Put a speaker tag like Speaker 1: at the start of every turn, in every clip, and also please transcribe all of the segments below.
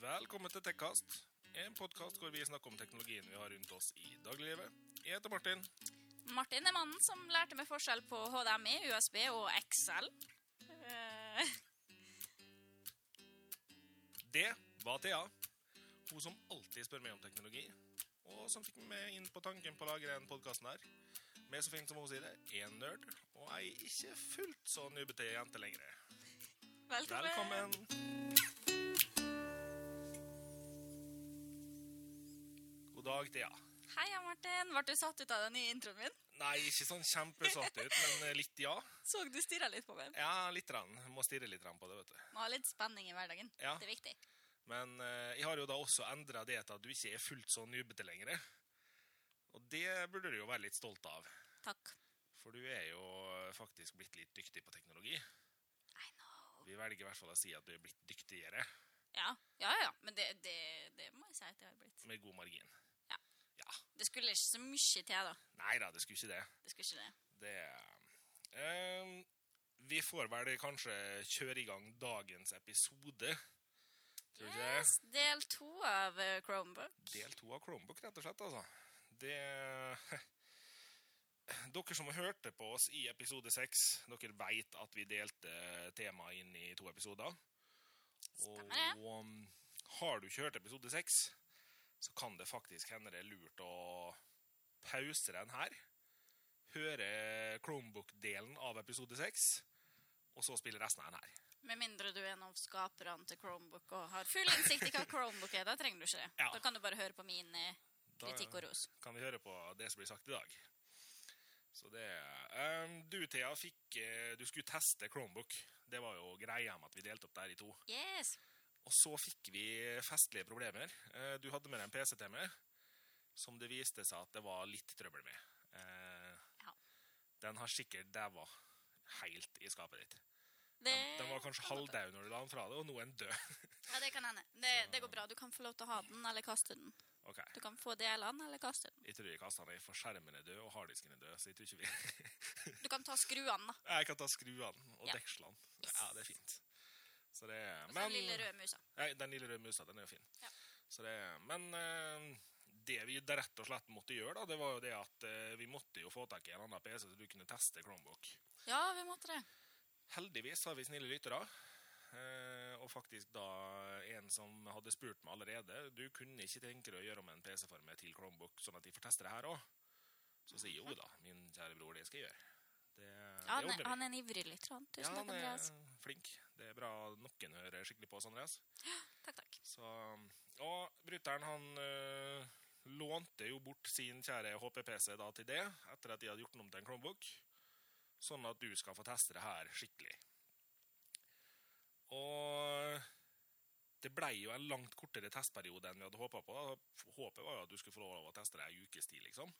Speaker 1: Velkommen til Tekkast, en podkast hvor vi snakker om teknologien vi har rundt oss i dagliglivet. Jeg heter Martin.
Speaker 2: Martin er mannen som lærte meg forskjell på HDMI, USB og Excel. Eh,
Speaker 1: Det var Thea. Hun som alltid spør meg om teknologi, og som fikk meg inn på tanken på å lage denne podkasten her. Med så fint som hun sier det, én nerd og ei ikke fullt så nubbete jente lenger.
Speaker 2: Velkommen.
Speaker 1: Velkommen. God dag, Thea.
Speaker 2: Hei, ja, Martin. Ble du satt ut av den nye introen min?
Speaker 1: Nei, ikke sånn kjempesatt ut, men litt ja.
Speaker 2: Så du stirra litt på meg.
Speaker 1: Ja, litt. Rann. Må stirre litt rann på det, vet du.
Speaker 2: Må ha litt spenning i hverdagen.
Speaker 1: Ja.
Speaker 2: Det er viktig.
Speaker 1: Men eh, jeg har jo da også endra det til at du ikke er fullt så nubbete lenger. Og det burde du jo være litt stolt av.
Speaker 2: Takk.
Speaker 1: For du er jo eh, faktisk blitt litt dyktig på teknologi.
Speaker 2: I know.
Speaker 1: Vi velger i hvert fall å si at du er blitt dyktigere,
Speaker 2: Ja, ja, ja. Men det, det, det må jeg si at jeg har blitt.
Speaker 1: med god margin.
Speaker 2: Ja.
Speaker 1: ja.
Speaker 2: Det skulle ikke så mye til, da.
Speaker 1: Nei da, det skulle ikke det.
Speaker 2: Det skulle ikke det.
Speaker 1: Det eh, Vi får vel kanskje kjøre i gang dagens episode. Tror du ikke det?
Speaker 2: Yes, del to av eh, Chromebook.
Speaker 1: Del to av Chromebook, rett og slett. altså. Det Dere som hørte på oss i episode seks, dere veit at vi delte temaet inn i to episoder.
Speaker 2: Stemmer
Speaker 1: Og um, har du ikke hørt episode seks, så kan det faktisk hende det er lurt å pause den her. Høre Chromebook-delen av episode seks, og så spille resten av den her.
Speaker 2: Med mindre du er en av skaperne til Chromebook og har full innsikt i hva Chromebook er. Da trenger du ikke det.
Speaker 1: Ja.
Speaker 2: Da kan du bare høre på min eh,
Speaker 1: Da-
Speaker 2: kritikk og ros.
Speaker 1: kan vi høre på det som blir sagt i dag. Så det Ehm, Du, Thea, fikk eh, Du skulle teste Chromebook. Det var jo greia med at vi delte opp der i to.
Speaker 2: Yes.
Speaker 1: Og så fikk vi festlige problemer. Eh, Du hadde med deg en PC til meg som det viste seg at det var litt trøbbel med. Eh,
Speaker 2: Ja.
Speaker 1: Den har sikkert daua helt i skapet ditt.
Speaker 2: Det,
Speaker 1: Den, den var kanskje
Speaker 2: kan godt hende.
Speaker 1: halvdau når du la den fra deg, og nå er den død.
Speaker 2: Ja, det kan hende. Det, det går bra. Du kan få lov til å ha den eller kaste den.
Speaker 1: Ok,
Speaker 2: Du kan få delene eller kaste den.
Speaker 1: Jeg tror jeg kasta den, for skjermen er død, og harddisken er død. Så jeg tror ikke vi
Speaker 2: Du kan ta skruene, da.
Speaker 1: Jeg kan ta skruene og
Speaker 2: Ja.
Speaker 1: dekslene. Ja, det er fint. Så det,
Speaker 2: Og så
Speaker 1: men,
Speaker 2: den lille røde musa.
Speaker 1: Nei, den lille røde musa, den er jo fin.
Speaker 2: Ja.
Speaker 1: Så det, men eh, det vi da rett og slett måtte gjøre, da, det var jo det at eh, vi måtte jo få tak i en annen PC så du kunne teste Chromebook.
Speaker 2: Ja, vi måtte det.
Speaker 1: Heldigvis har vi snille lyttere. eh, og faktisk da en som hadde spurt meg allerede Du kunne ikke tenke deg å gjøre om en PC for meg til Chromebook, sånn at de får teste det her òg? Så sier jeg, jo da, min kjære bror, det skal jeg gjøre. Det,
Speaker 2: Ja, han,
Speaker 1: det
Speaker 2: er,
Speaker 1: ordner vi.
Speaker 2: han er en ivrig lytter, han. Tusen takk,
Speaker 1: Ja,
Speaker 2: Andreas.
Speaker 1: han er flink. Det er bra noen hører skikkelig på oss, Andreas.
Speaker 2: Takk, takk.
Speaker 1: Så, og bruteren, han øh, lånte jo bort sin kjære HPPC da til det, etter at de hadde gjort den om til en Chromebook, sånn at du skal få teste det her skikkelig. Og det blei jo en langt kortere testperiode enn vi hadde håpa på. da. Håpet var jo at du skulle få lov å teste det ei ukes tid, liksom.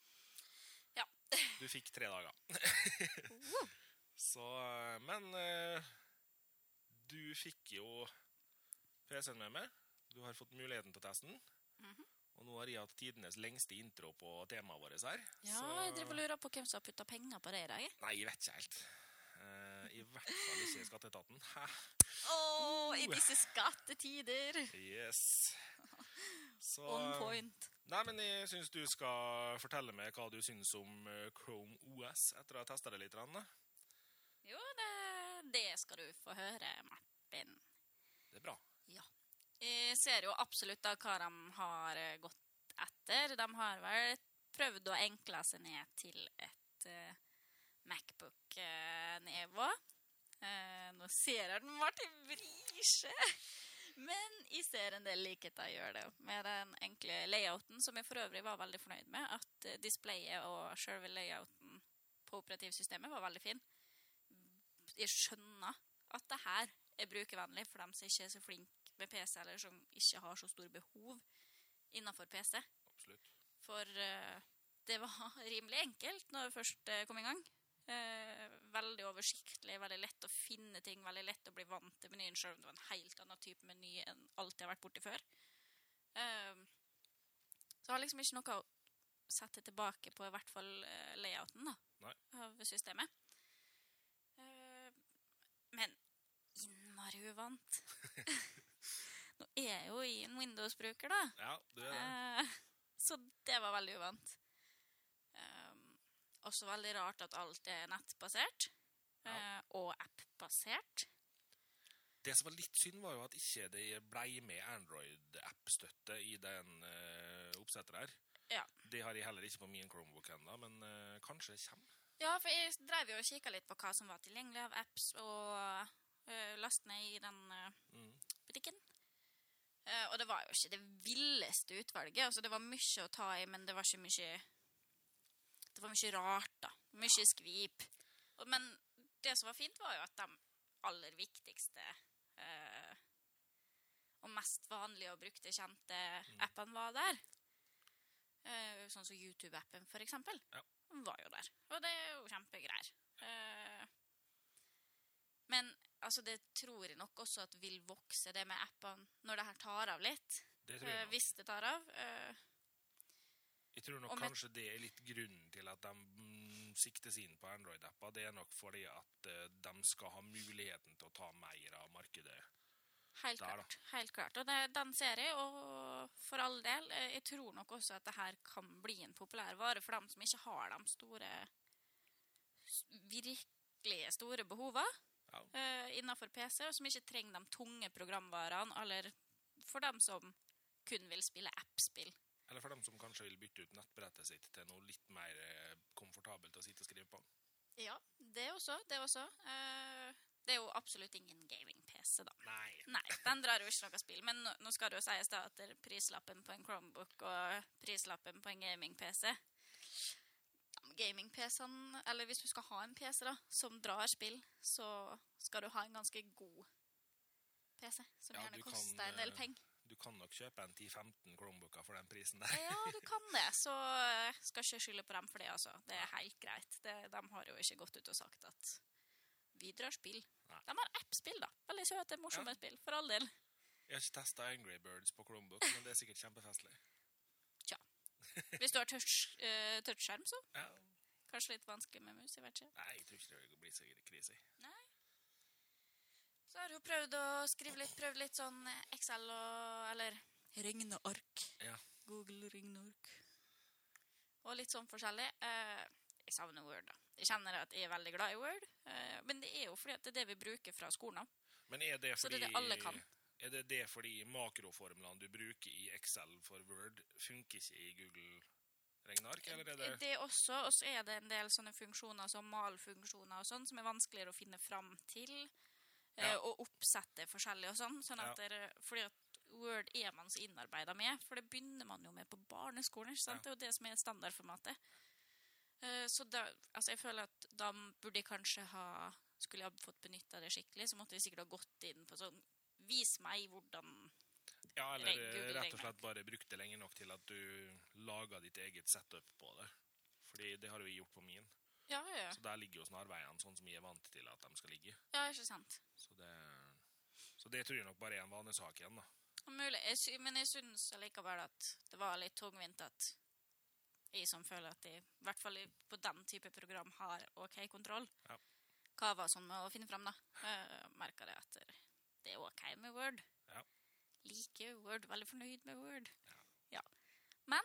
Speaker 2: Ja.
Speaker 1: Du fikk tre dager. Så, men eh, du fikk jo PC-en med meg. Du har fått muligheten til å teste den.
Speaker 2: Mhm.
Speaker 1: Og nå har jeg hatt tidenes lengste intro på temaet vårt her.
Speaker 2: Ja, jeg driver og lurer på hvem som har putta penger på det i dag. jeg.
Speaker 1: Nei, jeg vet ikke helt. Eh, I hvert fall ikke i Skatteetaten. Hæ?
Speaker 2: Å,
Speaker 1: Oh!
Speaker 2: i disse skattetider!
Speaker 1: Yes. Så, eh,
Speaker 2: On point.
Speaker 1: Nei, men jeg syns du skal fortelle meg hva du syns om eh, Chrome OS etter å ha testa det litt. grann, da.
Speaker 2: Jo, det, det skal du få høre, Martin.
Speaker 1: Det er bra.
Speaker 2: Ja. Jeg ser jo absolutt da hva de har eh, gått etter. De har vel prøvd å enkle seg ned til et eh, Macbook-nivå. Eh, nå ser jeg den Martin vrir seg! Men jeg ser en del likheter gjør det. Med den enkle layouten, som jeg for øvrig var veldig fornøyd med. At eh, displayet og selve layouten på operativsystemet var veldig fin. Jeg skjønner at det her er brukervennlig for dem som ikke er så flinke med PC, eller som ikke har så store behov innenfor PC.
Speaker 1: Absolutt.
Speaker 2: For eh, det var rimelig enkelt når det først eh, kom i gang. Eh, veldig oversiktlig, veldig lett å finne ting, veldig lett å bli vant til menyen, selv om det var en helt annen type meny enn alt jeg har vært borti før. Eh, så jeg har liksom ikke noe å sette tilbake på, i hvert fall eh, layouten da,
Speaker 1: Nei.
Speaker 2: av systemet. Eh, men innmari uvant. Nå er jo i en Windows-bruker, da.
Speaker 1: Ja, du er det.
Speaker 2: Eh, så det var veldig uvant. Ehm, også veldig rart at alt er nettbasert.
Speaker 1: Ja.
Speaker 2: eh, og app-basert.
Speaker 1: Det som var litt synd, var jo at ikke det blei med Android-app-støtte i den eh, oppsettet der.
Speaker 2: Ja.
Speaker 1: Det har jeg heller ikke på min Chromebook ennå, men eh, kanskje det kommer.
Speaker 2: Ja, for jeg drev jo og kikka litt på hva som var tilgjengelig av apps og eh, last ned i den eh,
Speaker 1: Mm.
Speaker 2: butikken. Eh, og det var jo ikke det villeste utvalget. Altså, det var mye å ta i, men det var ikke mye Det var mye rart, da. Mye skvip. Og, men det som var fint, var jo at de aller viktigste eh, og mest vanlige og brukte, kjente appene var der. Eh, sånn som YouTube-appen, for eksempel.
Speaker 1: Ja.
Speaker 2: Den var jo der. Og det er jo kjempegreier. Eh, men altså, det tror jeg nok også at vil vokse, det med appene, når det her tar av litt.
Speaker 1: Det tror jeg
Speaker 2: Eh,
Speaker 1: nok.
Speaker 2: hvis det tar av. eh,
Speaker 1: Jeg tror nok
Speaker 2: om et-
Speaker 1: kanskje det er litt grunnen til at de mm, siktes inn på Android-appa. Det er nok fordi at eh, de skal ha muligheten til å ta mer av markedet.
Speaker 2: Helt
Speaker 1: Der, da.
Speaker 2: klart. Helt klart. Og det, den ser jeg, og for all del, eh, jeg tror nok også at det her kan bli en populær vare for dem som ikke har de store s- virkelig store behova
Speaker 1: Ja.
Speaker 2: eh, innenfor PC, og som ikke trenger de tunge programvarene, eller for dem som kun vil spille app-spill.
Speaker 1: Eller for dem som kanskje vil bytte ut nettbrettet sitt til noe litt mer eh, komfortabelt å sitte og skrive på.
Speaker 2: Ja, det også. Det også. Eh, det er jo absolutt ingen gaming-PC, da.
Speaker 1: Nei.
Speaker 2: Nei, den drar jo ikke noe spill. Men nå, nå skal det jo sies da at det er prislappen på en Chromebook og prislappen på en gaming-PC Ja, men Gaming-PC-en, eller hvis du skal ha en PC da, som drar spill, så skal du ha en ganske god PC, som
Speaker 1: Ja, du
Speaker 2: gjerne
Speaker 1: kan,
Speaker 2: koster en del
Speaker 1: eh,
Speaker 2: penger.
Speaker 1: Du kan nok kjøpe en 10-15 Chromebooker for den prisen der.
Speaker 2: Ja, du kan det, så eh, skal ikke skylde på dem for det, altså. Det er helt greit. Det, de har jo ikke gått ut og sagt at vi drar spill.
Speaker 1: Nei.
Speaker 2: De har app-spill, da. Veldig søte, morsomme spill, for all del.
Speaker 1: Jeg har ikke testa Angry Birds på Chromebook, men det er sikkert kjempefestlig.
Speaker 2: Hvis du har touch, eh, touchskjerm, så
Speaker 1: Ja.
Speaker 2: Kanskje litt vanskelig med mus, jeg vet ikke.
Speaker 1: Nei, jeg tror ikke det blir så krise.
Speaker 2: Så har hun prøvd å skrive litt, prøvd litt sånn Excel og Eller Regneark.
Speaker 1: Ja.
Speaker 2: Google regneark. Og litt sånn forskjellig. Eh, jeg savner Word, da. Jeg kjenner at jeg er veldig glad i Word, eh, men det er jo fordi at det er det vi bruker fra skolen av.
Speaker 1: Men er det
Speaker 2: Så
Speaker 1: fordi
Speaker 2: det er det alle kan.
Speaker 1: Er det det fordi makroformlene du bruker i Excel for Word, funker ikke i Google Regneark, eller er det
Speaker 2: Det også, og så er det en del sånne funksjoner som malfunksjoner og sånn, som er vanskeligere å finne fram til. eh,
Speaker 1: Ja.
Speaker 2: Og oppsette forskjellig og sånn. sånn at dere- fordi at Word er man så innarbeida med, for det begynner man jo med på barneskolen. ikke sant? Det er jo det som er standardformatet. Eh, Så da, altså jeg føler at da burde jeg kanskje ha Skulle jeg ha fått benytta det skikkelig, så måtte jeg sikkert ha gått inn på sånn Vis meg hvordan
Speaker 1: Ja, eller
Speaker 2: Reg- Google
Speaker 1: rett og
Speaker 2: Regneark.
Speaker 1: slett bare brukt det lenge nok til at du laga ditt eget setup på det. Fordi det har jo jeg gjort på min.
Speaker 2: Ja, ja, ja.
Speaker 1: Så der ligger jo snarveiene sånn som jeg er vant til at de skal ligge.
Speaker 2: ja ikke sant?
Speaker 1: Så det, så det tror jeg nok bare er en vanesak igjen, da.
Speaker 2: Mulig. Jeg sy men jeg syns allikevel at det var litt tungvint at jeg som føler at jeg, i hvert fall i- på den type program, har OK kontroll.
Speaker 1: Ja.
Speaker 2: Hva var sånn med å finne fram, da? Uh, Merka det at det er OK med Word.
Speaker 1: Ja.
Speaker 2: Liker Word, veldig fornøyd med Word. Ja. Men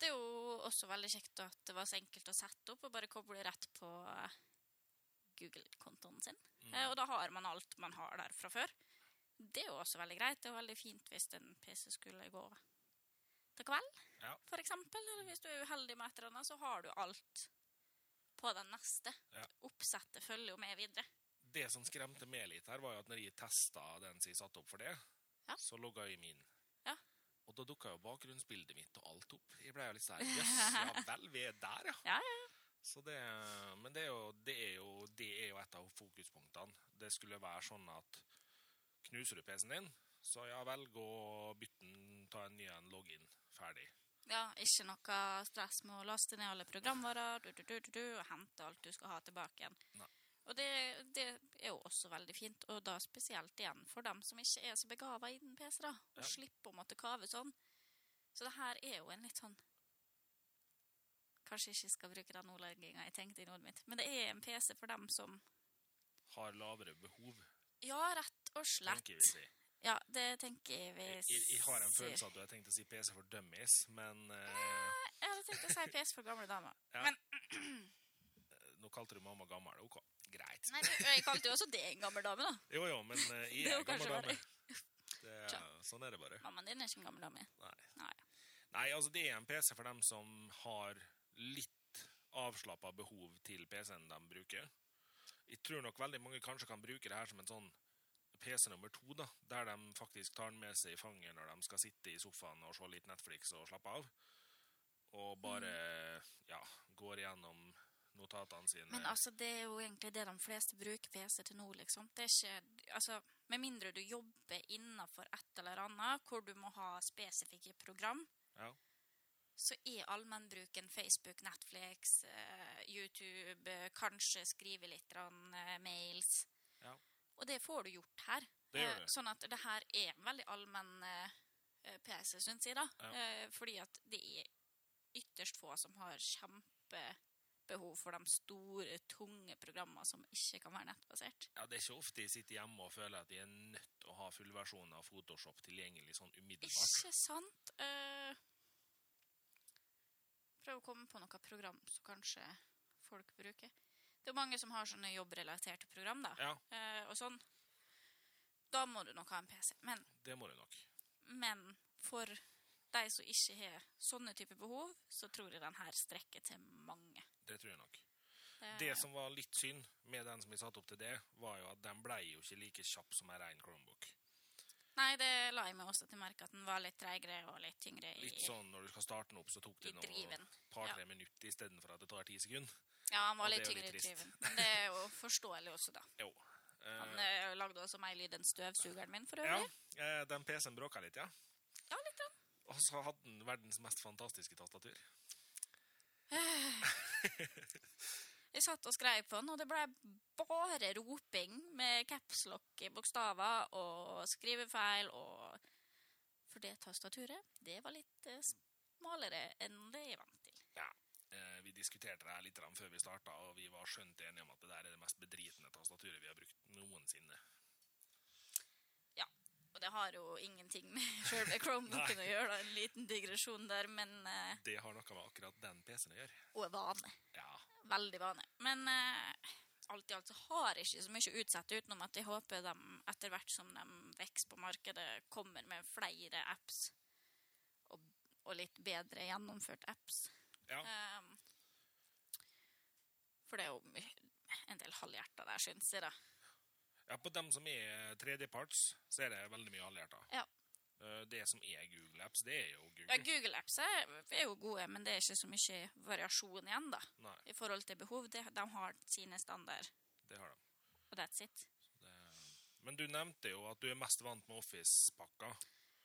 Speaker 2: det er jo også veldig kjekt at det var så enkelt å sette opp og bare koble rett på eh, Google-kontoen sin.
Speaker 1: Mm.
Speaker 2: Eh, Og da har man alt man har der fra før. Det er jo også veldig greit. Det er jo veldig fint hvis en PC skulle gå til kveld,
Speaker 1: Ja.
Speaker 2: for eksempel. Eller hvis du er uheldig med et eller annet, så har du alt på den neste.
Speaker 1: Ja.
Speaker 2: Oppsettet følger jo med videre.
Speaker 1: det som skremte meg litt her, var jo at når jeg testa den som jeg satte opp for det,
Speaker 2: Ja.
Speaker 1: så logga jeg min.
Speaker 2: Ja.
Speaker 1: Og da dukka jo bakgrunnsbildet mitt og alt opp. Jeg ble jo litt sånn Jøss, ja vel, vi er der, ja.
Speaker 2: Ja,
Speaker 1: Så det, men det er, jo, det, er jo, det er jo et av fokuspunktene. Det skulle være sånn at knuser du PC-en din, så ja vel, gå og bytte den, ta en ny en, logg inn, ferdig.
Speaker 2: Ja, ikke noe stress med å laste ned alle programvarer du, du, du, du, du, og hente alt du skal ha tilbake igjen.
Speaker 1: Nei.
Speaker 2: Og det, det er jo også veldig fint, og da spesielt igjen for dem som ikke er så begava innen PC, da.
Speaker 1: Ja.
Speaker 2: Og slippe å måtte kave sånn. Så det her er jo en litt sånn Kanskje jeg ikke skal bruke den ordlegginga jeg tenkte i hodet mitt, men det er en PC for dem som
Speaker 1: Har lavere behov,
Speaker 2: Ja, rett og slett.
Speaker 1: tenker vi å si.
Speaker 2: Ja, det tenker vi
Speaker 1: Jeg, jeg, jeg har en
Speaker 2: sier.
Speaker 1: følelse av at du har tenkt å si PC for dummies, men eh,
Speaker 2: Jeg hadde tenkt å si PS for gamle damer.
Speaker 1: nå kalte du mamma gammel. OK, greit.
Speaker 2: Nei, du, jeg kalte jo også det en gammel dame, da.
Speaker 1: Jo jo, men eh,
Speaker 2: Det
Speaker 1: jeg
Speaker 2: er
Speaker 1: er
Speaker 2: jo kanskje
Speaker 1: gammel dame.
Speaker 2: verre.
Speaker 1: Det er-
Speaker 2: Tja.
Speaker 1: sånn er det bare.
Speaker 2: Mammaen din er ikke en gammel dame.
Speaker 1: Nei, altså det er en PC for dem som har litt avslappa behov til PC-en de bruker. Jeg tror nok veldig mange kanskje kan bruke det her som en sånn PC nummer to, da, der de faktisk tar den med seg i fanget når de skal sitte i sofaen og se litt Netflix og slappe av. Og bare ja, går gjennom notatene sine.
Speaker 2: Mm. Men altså, det er jo egentlig det de fleste bruker PC til nå, liksom. Det er ikke Altså, med mindre du jobber innenfor et eller annet hvor du må ha spesifikke program,
Speaker 1: Ja.
Speaker 2: så er allmennbruken Facebook, Netflix, eh, YouTube, eh, kanskje skrive litt grann, eh, mails.
Speaker 1: Ja.
Speaker 2: Og det får du gjort her.
Speaker 1: det
Speaker 2: Eh,
Speaker 1: gjør det.
Speaker 2: Sånn at det her er en veldig allmenn eh, eh, PC, syns jeg, da.
Speaker 1: Ja.
Speaker 2: Eh, fordi at det er ytterst få som har kjempebehov for de store, tunge programmene som ikke kan være nettbasert.
Speaker 1: Ja, det er ikke ofte jeg sitter hjemme og føler at jeg er nødt til å ha fullversjonen av Photoshop tilgjengelig sånn umiddelbart.
Speaker 2: Ikke sant? Eh, prøv å komme på noe program som kanskje folk bruker. Det er jo mange som har sånne jobbrelaterte program, da.
Speaker 1: Ja,
Speaker 2: Eh, og sånn. Da må du nok ha en PC. Men
Speaker 1: det må du nok.
Speaker 2: Men for de som ikke har sånne type behov, så tror jeg den her strekker til mange.
Speaker 1: Det tror jeg nok.
Speaker 2: Det-
Speaker 1: Det som var litt synd med den som jeg satte opp til det, var jo at den blei jo ikke like kjapp som ei rein Chromebook.
Speaker 2: Nei, det la jeg meg også til merke at den var litt treigere og litt tyngre i,
Speaker 1: Litt sånn når du skal starte den opp, så tok
Speaker 2: i
Speaker 1: det noe
Speaker 2: driven.
Speaker 1: par-tre minutter istedenfor at det tar ti sekunder.
Speaker 2: Ja, den var
Speaker 1: Og det
Speaker 2: litt
Speaker 1: er jo
Speaker 2: tyngre
Speaker 1: litt
Speaker 2: i
Speaker 1: trist.
Speaker 2: driven. Men det er jo forståelig også, da.
Speaker 1: Jo. Eh,
Speaker 2: Han eh, lagde også meg lyd, den støvsugeren min, for
Speaker 1: ja,
Speaker 2: øvrig.
Speaker 1: eh, den PC-en bråka litt, ja.
Speaker 2: Ja, litt sånn.
Speaker 1: grann. Og så hadde den verdens mest fantastiske tastatur.
Speaker 2: Jeg satt og skrev på den, og det ble bare roping med capslock i bokstaver og skrivefeil og For det tastaturet, det var litt eh, smalere enn det jeg vant til.
Speaker 1: Eh, vi diskuterte det her litt grann før vi starta, og vi var skjønt enige om at det der er det mest bedritne tastaturet vi har brukt noensinne.
Speaker 2: Og det har jo ingenting med selve Chromebooken å gjøre, da. en liten digresjon der, men eh,
Speaker 1: Det har noe med akkurat den PC-en å gjøre.
Speaker 2: Og vane.
Speaker 1: Ja.
Speaker 2: Veldig vane. Men eh, alt i alt så har jeg ikke så mye å utsette, utenom at jeg håper de etter hvert som de vokser på markedet, kommer med flere apps. Og, og litt bedre gjennomført apps.
Speaker 1: Ja.
Speaker 2: Ehm, for det er jo my- en del halvhjerta der, syns jeg, da.
Speaker 1: Ja, på dem som er tredjeparts, så er det veldig mye halvhjerta.
Speaker 2: Ja.
Speaker 1: Eh, Det som er Google Apps, det er jo Google.
Speaker 2: Ja, Google Apps er, er jo gode, men det er ikke så mye variasjon igjen, da.
Speaker 1: Nei,
Speaker 2: i forhold til behov. De, de har sine standard,
Speaker 1: det har de.
Speaker 2: og that's it.
Speaker 1: Det... Men du nevnte jo at du er mest vant med Office-pakka.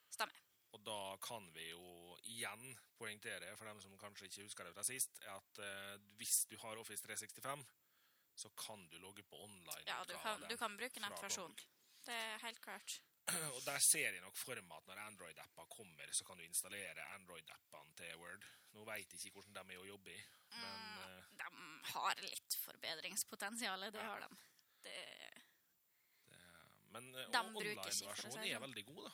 Speaker 2: Stemmer.
Speaker 1: Og da kan vi jo igjen poengtere, for dem som kanskje ikke husker det fra sist, at eh, hvis du har Office 365, så kan du logge på online.
Speaker 2: Ja, du kan, du kan bruke
Speaker 1: fra
Speaker 2: nettversjon. Det er helt klart.
Speaker 1: Og der ser jeg nok for meg at når Android-appa kommer, så kan du installere Android-appene til Word. Nå veit jeg ikke hvordan de er å jobbe i, men eh,
Speaker 2: Mm, de har litt forbedringspotensial, det
Speaker 1: Ja.
Speaker 2: har de. Det,
Speaker 1: Men eh,
Speaker 2: De
Speaker 1: og
Speaker 2: bruker ikke, for å si det
Speaker 1: online-versjonen er
Speaker 2: sånn.
Speaker 1: veldig god, da.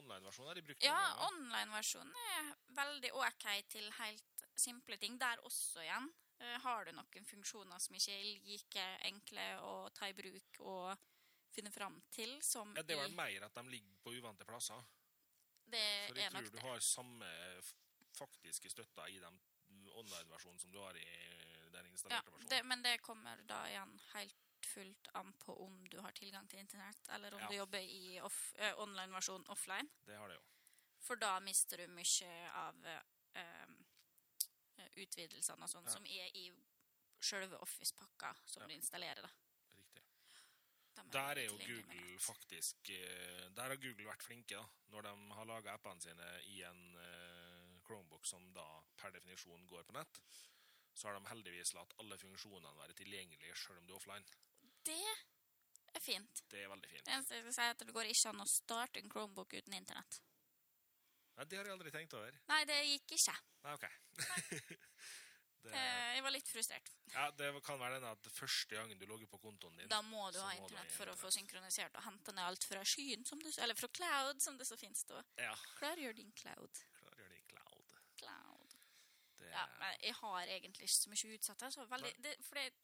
Speaker 1: Online-versjonen har de brukt.
Speaker 2: ja,
Speaker 1: noen ganger.
Speaker 2: online-versjonen er veldig OK til helt simple ting. Der også igjen eh, har du noen funksjoner som ikke er like enkle å ta i bruk og finne fram til, som
Speaker 1: ja, det var
Speaker 2: i
Speaker 1: mer at de ligger på uvante plasser.
Speaker 2: Det
Speaker 1: Så jeg
Speaker 2: Eh, er nok
Speaker 1: tror du
Speaker 2: det.
Speaker 1: har samme f- faktiske støtta i den online-versjonen som du har i eh, den
Speaker 2: Ja,
Speaker 1: installerte versjonen.
Speaker 2: det, men det kommer da igjen helt fullt an på om du har tilgang til internett, eller om
Speaker 1: Ja.
Speaker 2: du jobber i off, eh, online-versjon offline.
Speaker 1: Det, har det jo.
Speaker 2: For da mister du mye av eh, eh, utvidelsene og sånn
Speaker 1: Ja.
Speaker 2: som er i sjølve Office-pakka som
Speaker 1: Ja.
Speaker 2: du installerer. da.
Speaker 1: Riktig.
Speaker 2: De
Speaker 1: Der er jo
Speaker 2: tilgjengelige med
Speaker 1: Google
Speaker 2: nett.
Speaker 1: faktisk eh, Der har Google vært flinke, da. Når de har laga appene sine i en eh, Chromebook som da per definisjon går på nett, så har de heldigvis latt alle funksjonene være tilgjengelige sjøl om du er offline.
Speaker 2: Det er fint.
Speaker 1: Det er veldig fint.
Speaker 2: Det eneste jeg skal si, er at det går ikke an å starte en Chromebook uten internett.
Speaker 1: Nei, det har jeg aldri tenkt over.
Speaker 2: Nei, det gikk ikke.
Speaker 1: Nei, ok. Det,
Speaker 2: Eh, Jeg var litt frustrert.
Speaker 1: ja, det kan være den at første gangen du logger på kontoen din
Speaker 2: Da må du
Speaker 1: så
Speaker 2: ha
Speaker 1: må du ha
Speaker 2: internett for å få
Speaker 1: internett.
Speaker 2: synkronisert og hente ned alt fra skyen, som det, eller fra cloud, som det så fint står.
Speaker 1: Ja,
Speaker 2: Klargjør din cloud.
Speaker 1: klar, gjør det i cloud.
Speaker 2: Cloud.
Speaker 1: Det,
Speaker 2: Ja, men jeg har egentlig ikke så mye utsatt. Altså. Veldig, det, for det,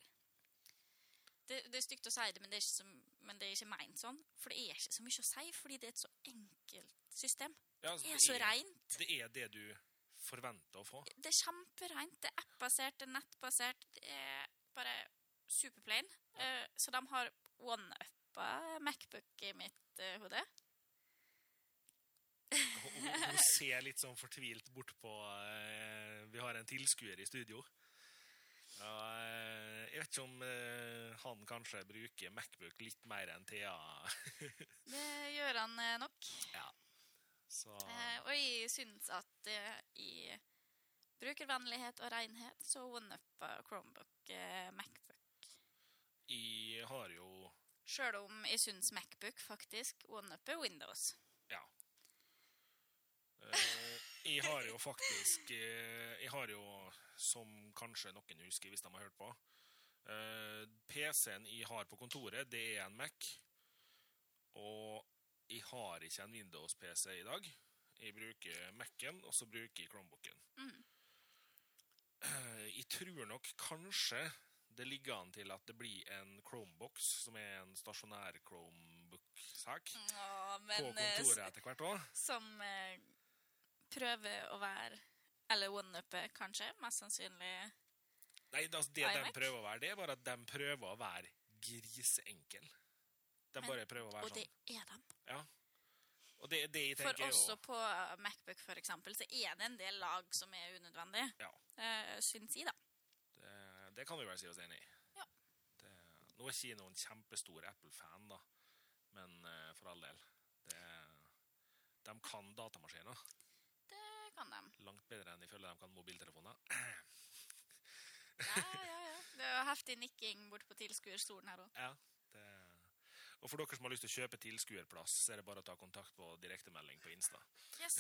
Speaker 2: det, det er stygt å si det, men det er ikke, så, men det er ikke meint sånn. For det er ikke så mye å si, fordi det er et så enkelt system.
Speaker 1: Ja, altså,
Speaker 2: Det er så reint.
Speaker 1: det er det du forventer å få.
Speaker 2: Det er kjempereint. Det er app-basert, det er nettbasert. Det er bare superplain. Eh, så de har one-uppa Macbook i mitt eh, hode.
Speaker 1: Hun, hun- hun ser litt sånn fortvilt bort på eh, Vi har en tilskuer i studio. Ja, eh, jeg vet ikke om eh, han kanskje bruker Macbook litt mer enn Thea.
Speaker 2: Det gjør han eh, nok.
Speaker 1: Så
Speaker 2: Eh, og jeg syns at eh, i brukervennlighet og renhet så one-uppa Chromebook eh, Macbook.
Speaker 1: jeg har jo
Speaker 2: Sjøl om jeg syns Macbook faktisk one-upper Windows.
Speaker 1: Eh, jeg har jo faktisk eh, Jeg har jo, som kanskje noen husker hvis de har hørt på eh, PC-en jeg har på kontoret, det er en Mac. Og jeg har ikke en Windows-PC i dag. Jeg bruker Mac-en, og så bruker jeg Chromebooken.
Speaker 2: Mm.
Speaker 1: Eh, Jeg tror nok kanskje det ligger an til at det blir en Chromebox, som er en stasjonær Chromebook-sak,
Speaker 2: Å,
Speaker 1: på
Speaker 2: Mm, men eh,
Speaker 1: kontoret etter hvert òg.
Speaker 2: s- som eh, prøver å være Eller one-upper, kanskje. Mest sannsynlig.
Speaker 1: Nei, det, altså, det de
Speaker 2: iMac?
Speaker 1: prøver å være, det er bare at de prøver å være grisenkel. De
Speaker 2: Men-
Speaker 1: bare prøver å være
Speaker 2: Og det
Speaker 1: sånn.
Speaker 2: er de.
Speaker 1: Og det, det jeg
Speaker 2: For
Speaker 1: tenker er
Speaker 2: også
Speaker 1: jo
Speaker 2: på Macbook, for eksempel, så er det en del lag som er unødvendig.
Speaker 1: Ja.
Speaker 2: Eh, syns jeg, da.
Speaker 1: det, det kan vi vel si oss enig i.
Speaker 2: Ja.
Speaker 1: Det, nå er ikke jeg noen kjempestor Apple-fan, da. Men eh, for all del. Det, de kan datamaskiner
Speaker 2: Det kan de.
Speaker 1: langt bedre enn jeg føler de kan mobiltelefoner.
Speaker 2: Ja, ja, ja. Det er jo heftig nikking borte på tilskuerstolen her òg.
Speaker 1: Det, og for dere som har lyst til å kjøpe tilskuerplass, så er det bare å ta kontakt på direktemelding på Insta.
Speaker 2: Yes.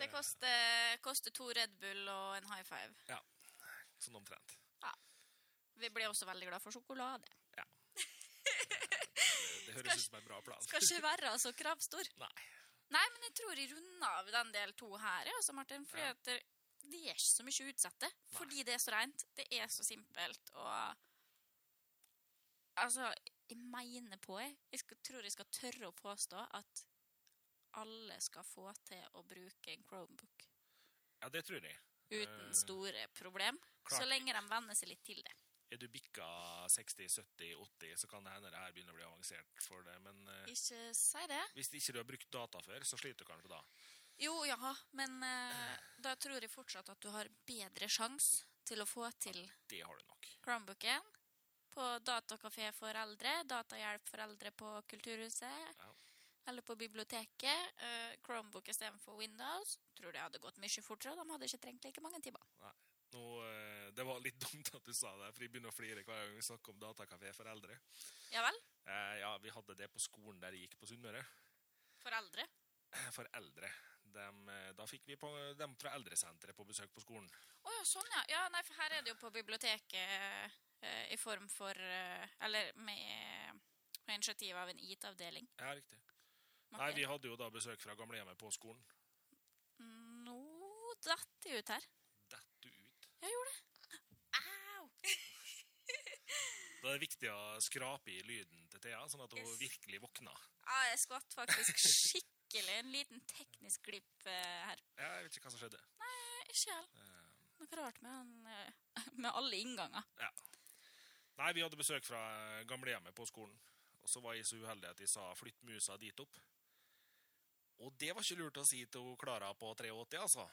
Speaker 2: Det koster, koster to Red Bull og en high five.
Speaker 1: Sånn omtrent.
Speaker 2: Vi blir også veldig glad for sjokolade.
Speaker 1: Det høres ut som en bra plan.
Speaker 2: Skal ikke være så kravstor.
Speaker 1: Nei.
Speaker 2: Nei, men jeg tror jeg runder av den del to her, ja, altså, Martin. Fordi
Speaker 1: Ja.
Speaker 2: at det, det er ikke så mye utsatte. Fordi det er så rent. Det er så simpelt og Altså, jeg mener på jeg. Jeg skal, tror jeg skal tørre å påstå at alle skal få til å bruke en Chromebook.
Speaker 1: Ja, det tror jeg. Eh,
Speaker 2: uten store problem.
Speaker 1: klart.
Speaker 2: Så lenge de venner seg litt til det.
Speaker 1: Er du bikka 60, 70, 80, så kan det hende det her begynner å bli avansert for det. Men eh,
Speaker 2: Ikke si det.
Speaker 1: hvis ikke du har brukt data før, så sliter du kanskje da.
Speaker 2: Jo, ja, men eh, da tror jeg fortsatt at du har bedre sjanse til å få til
Speaker 1: Det har du nok.
Speaker 2: Chromebooken på datakafé for eldre, datahjelp for eldre på Kulturhuset
Speaker 1: Ja.
Speaker 2: eller på biblioteket. eh, Chromebook istedenfor Windows. Tror det hadde gått mye fortere, og de hadde ikke trengt like mange timer.
Speaker 1: Nå, eh, det var litt dumt at du sa det, for jeg begynner å flire hver gang vi snakker om datakafé for eldre.
Speaker 2: Ja vel?
Speaker 1: Eh, ja, vi hadde det på skolen der jeg gikk på Sunnmøre.
Speaker 2: For eldre.
Speaker 1: Eh, For eldre. Dem, eh, da fikk vi på, dem fra eldresenteret på besøk på skolen.
Speaker 2: Å ja, sånn ja. Ja, nei, for her er det jo på biblioteket eh, i form for eh, Eller med, med initiativ av en IT-avdeling.
Speaker 1: Ja, riktig. Nei,
Speaker 2: Martin.
Speaker 1: vi hadde jo da besøk fra gamlehjemmet på skolen.
Speaker 2: Nå datt det ut her.
Speaker 1: Dett du ut.
Speaker 2: Jeg gjorde det. Au!
Speaker 1: Da er det viktig å skrape i lyden til Thea, sånn at hun
Speaker 2: Yes.
Speaker 1: virkelig våkna.
Speaker 2: Ja, jeg skvatt faktisk skikkelig. En liten teknisk glipp eh, her.
Speaker 1: Ja, jeg vet ikke hva som skjedde.
Speaker 2: Eh, Ikke helt.
Speaker 1: Eh,
Speaker 2: Noe rart med, den, eh, med alle innganger.
Speaker 1: Nei, vi hadde besøk fra eh, gamlehjemmet på skolen. Og så var jeg så uheldig at jeg sa 'flytt musa dit opp'. Og det var ikke lurt å si til hun Klara på 83, altså.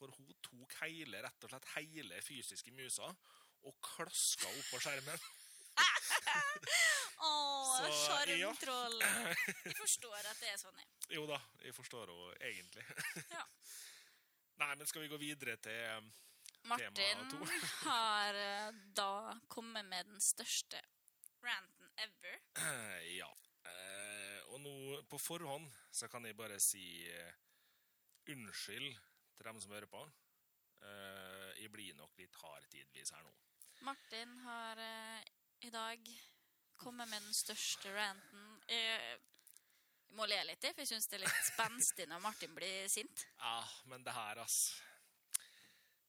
Speaker 1: For hun tok hele, rett og slett hele fysiske musa og klaska opp på skjermen.
Speaker 2: Å,
Speaker 1: Så, ja.
Speaker 2: sjarmtroll! Jeg forstår at det er sånn. jeg.
Speaker 1: Jo da, jeg forstår henne egentlig.
Speaker 2: Ja.
Speaker 1: Nei, men skal vi gå videre til eh, Tema to.
Speaker 2: Martin har eh, da kommet med den største ranten ever.
Speaker 1: Ja. Eh, og nå på forhånd så kan jeg bare si eh, unnskyld til dem som hører på. Eh, jeg blir nok litt hard tidvis her nå.
Speaker 2: Martin har eh, i dag kommet med den største ranten. Eh, Jeg, jeg må le litt, for jeg syns det er litt spenstig når Martin blir sint.
Speaker 1: Ja, men det her, ass.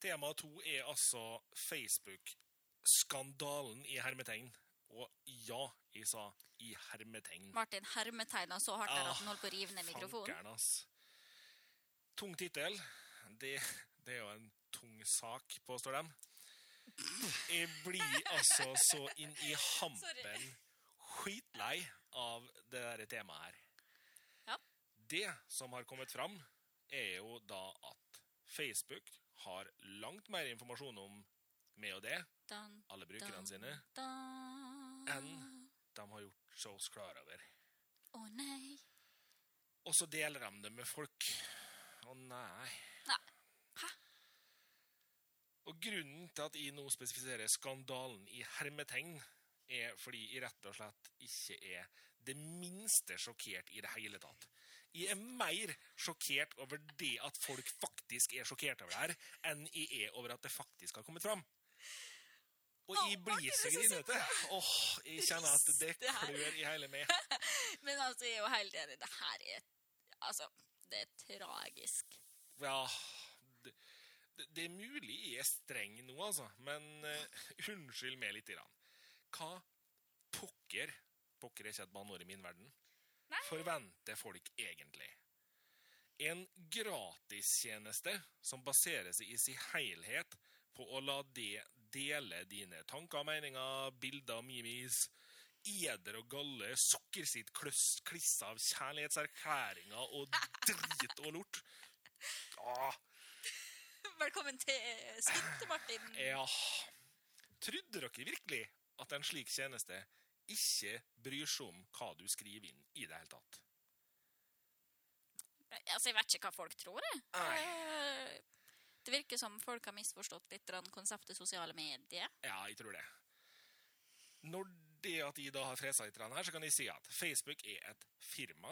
Speaker 1: Tema to er altså Facebook-skandalen i hermetegn. Og ja, jeg sa i hermetegn.
Speaker 2: Martin hermetegna så hardt der at han holdt på å rive ned mikrofonen.
Speaker 1: Ah, Fankeren, ass. Tung tittel. Det, det er jo en tung sak, påstår de. Jeg blir altså så inn i hampen skitlei av det der temaet her.
Speaker 2: Ja.
Speaker 1: Det som har kommet fram, er jo da at Facebook har langt mer informasjon om meg og det,
Speaker 2: Dan,
Speaker 1: alle
Speaker 2: dan,
Speaker 1: brukerne sine,
Speaker 2: dan.
Speaker 1: Enn- de har gjort seg oss klar over.
Speaker 2: Å nei.
Speaker 1: Og så deler de det med folk. Å nei.
Speaker 2: Nei. Hæ?
Speaker 1: Og grunnen til at jeg nå spesifiserer skandalen i hermetegn, er fordi jeg rett og slett ikke er det minste sjokkert i det hele tatt. Jeg er mer sjokkert over det at folk faktisk er sjokkert over det her, enn jeg er over at det faktisk har kommet fram. Og
Speaker 2: Å,
Speaker 1: jeg
Speaker 2: Martin,
Speaker 1: blir
Speaker 2: det er
Speaker 1: så
Speaker 2: så sint.
Speaker 1: grinete. Åh, jeg kjenner at det
Speaker 2: Det her-
Speaker 1: klør i hele meg.
Speaker 2: Men altså, jeg er jo helt enig. Det her er Altså, det er tragisk.
Speaker 1: Ja det, det- det er mulig jeg er streng nå, altså. Men eh, unnskyld meg litt. Grann. Hva pokker Pokker er ikke et banneord i min verden.
Speaker 2: Nei.
Speaker 1: Forventer folk egentlig? En gratistjeneste som baserer seg i sin helhet på å la det dele dine tanker, meninger, bilder, memes, eder og galle, sukkersitt kløss, kliss av kjærlighetserklæringer og drit og lort. Ah,
Speaker 2: Velkommen til sint, Martin.
Speaker 1: ja. Trodde dere virkelig at en slik tjeneste ikke bryr seg om hva du skriver inn i det hele tatt?
Speaker 2: Altså, jeg vet ikke hva folk tror, jeg.
Speaker 1: Nei.
Speaker 2: Eh, Det virker som folk har misforstått litt grann konseptet sosiale medier.
Speaker 1: Ja, jeg tror det. Når det at jeg da har fresa litt grann her, så kan jeg si at Facebook er et firma.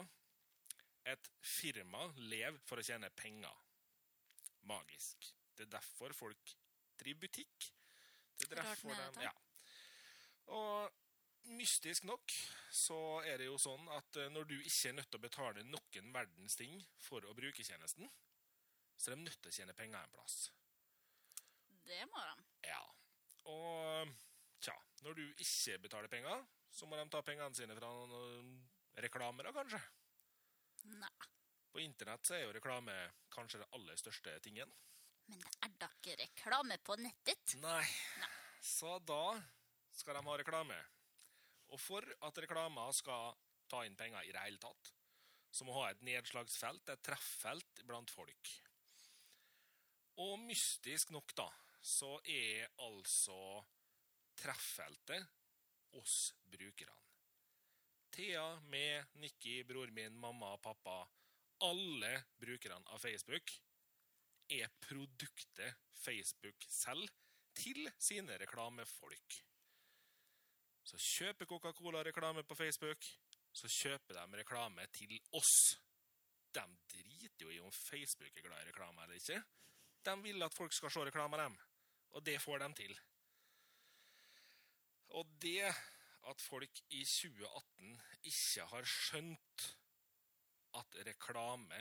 Speaker 1: Et firma lever for å tjene penger. Magisk. Det er derfor folk driver butikk. Det er
Speaker 2: Rart
Speaker 1: derfor
Speaker 2: med
Speaker 1: de
Speaker 2: dette.
Speaker 1: Ja. Og mystisk nok så er det jo sånn at eh, når du ikke er nødt til å betale noen verdens ting for å bruke tjenesten, så er de nødt til å tjene penger en plass.
Speaker 2: Det må de.
Speaker 1: Ja. Og tja, når du ikke betaler penger, så må de ta pengene sine fra noen eh, reklamer, da, kanskje.
Speaker 2: Nei,
Speaker 1: På internett så er jo reklame kanskje det aller største tingen.
Speaker 2: men det er da ikke reklame på nettet.
Speaker 1: Nei. Så da skal de ha reklame. Og for at reklama skal ta inn penger i det hele tatt, så må ha et nedslagsfelt, et trefffelt blant folk. Og mystisk nok, da, så er altså trefffeltet oss brukerne. Thea, meg, Nikki, bror min, mamma, pappa Alle brukerne av Facebook er produktet Facebook selv til sine reklamefolk. Så kjøper Coca-Cola reklame på Facebook, så kjøper de reklame til oss. De driter jo i om Facebook er glad i reklame eller ikke. De vil at folk skal se reklame av dem, og det får de til. Og det at folk i 2018 ikke har skjønt at reklame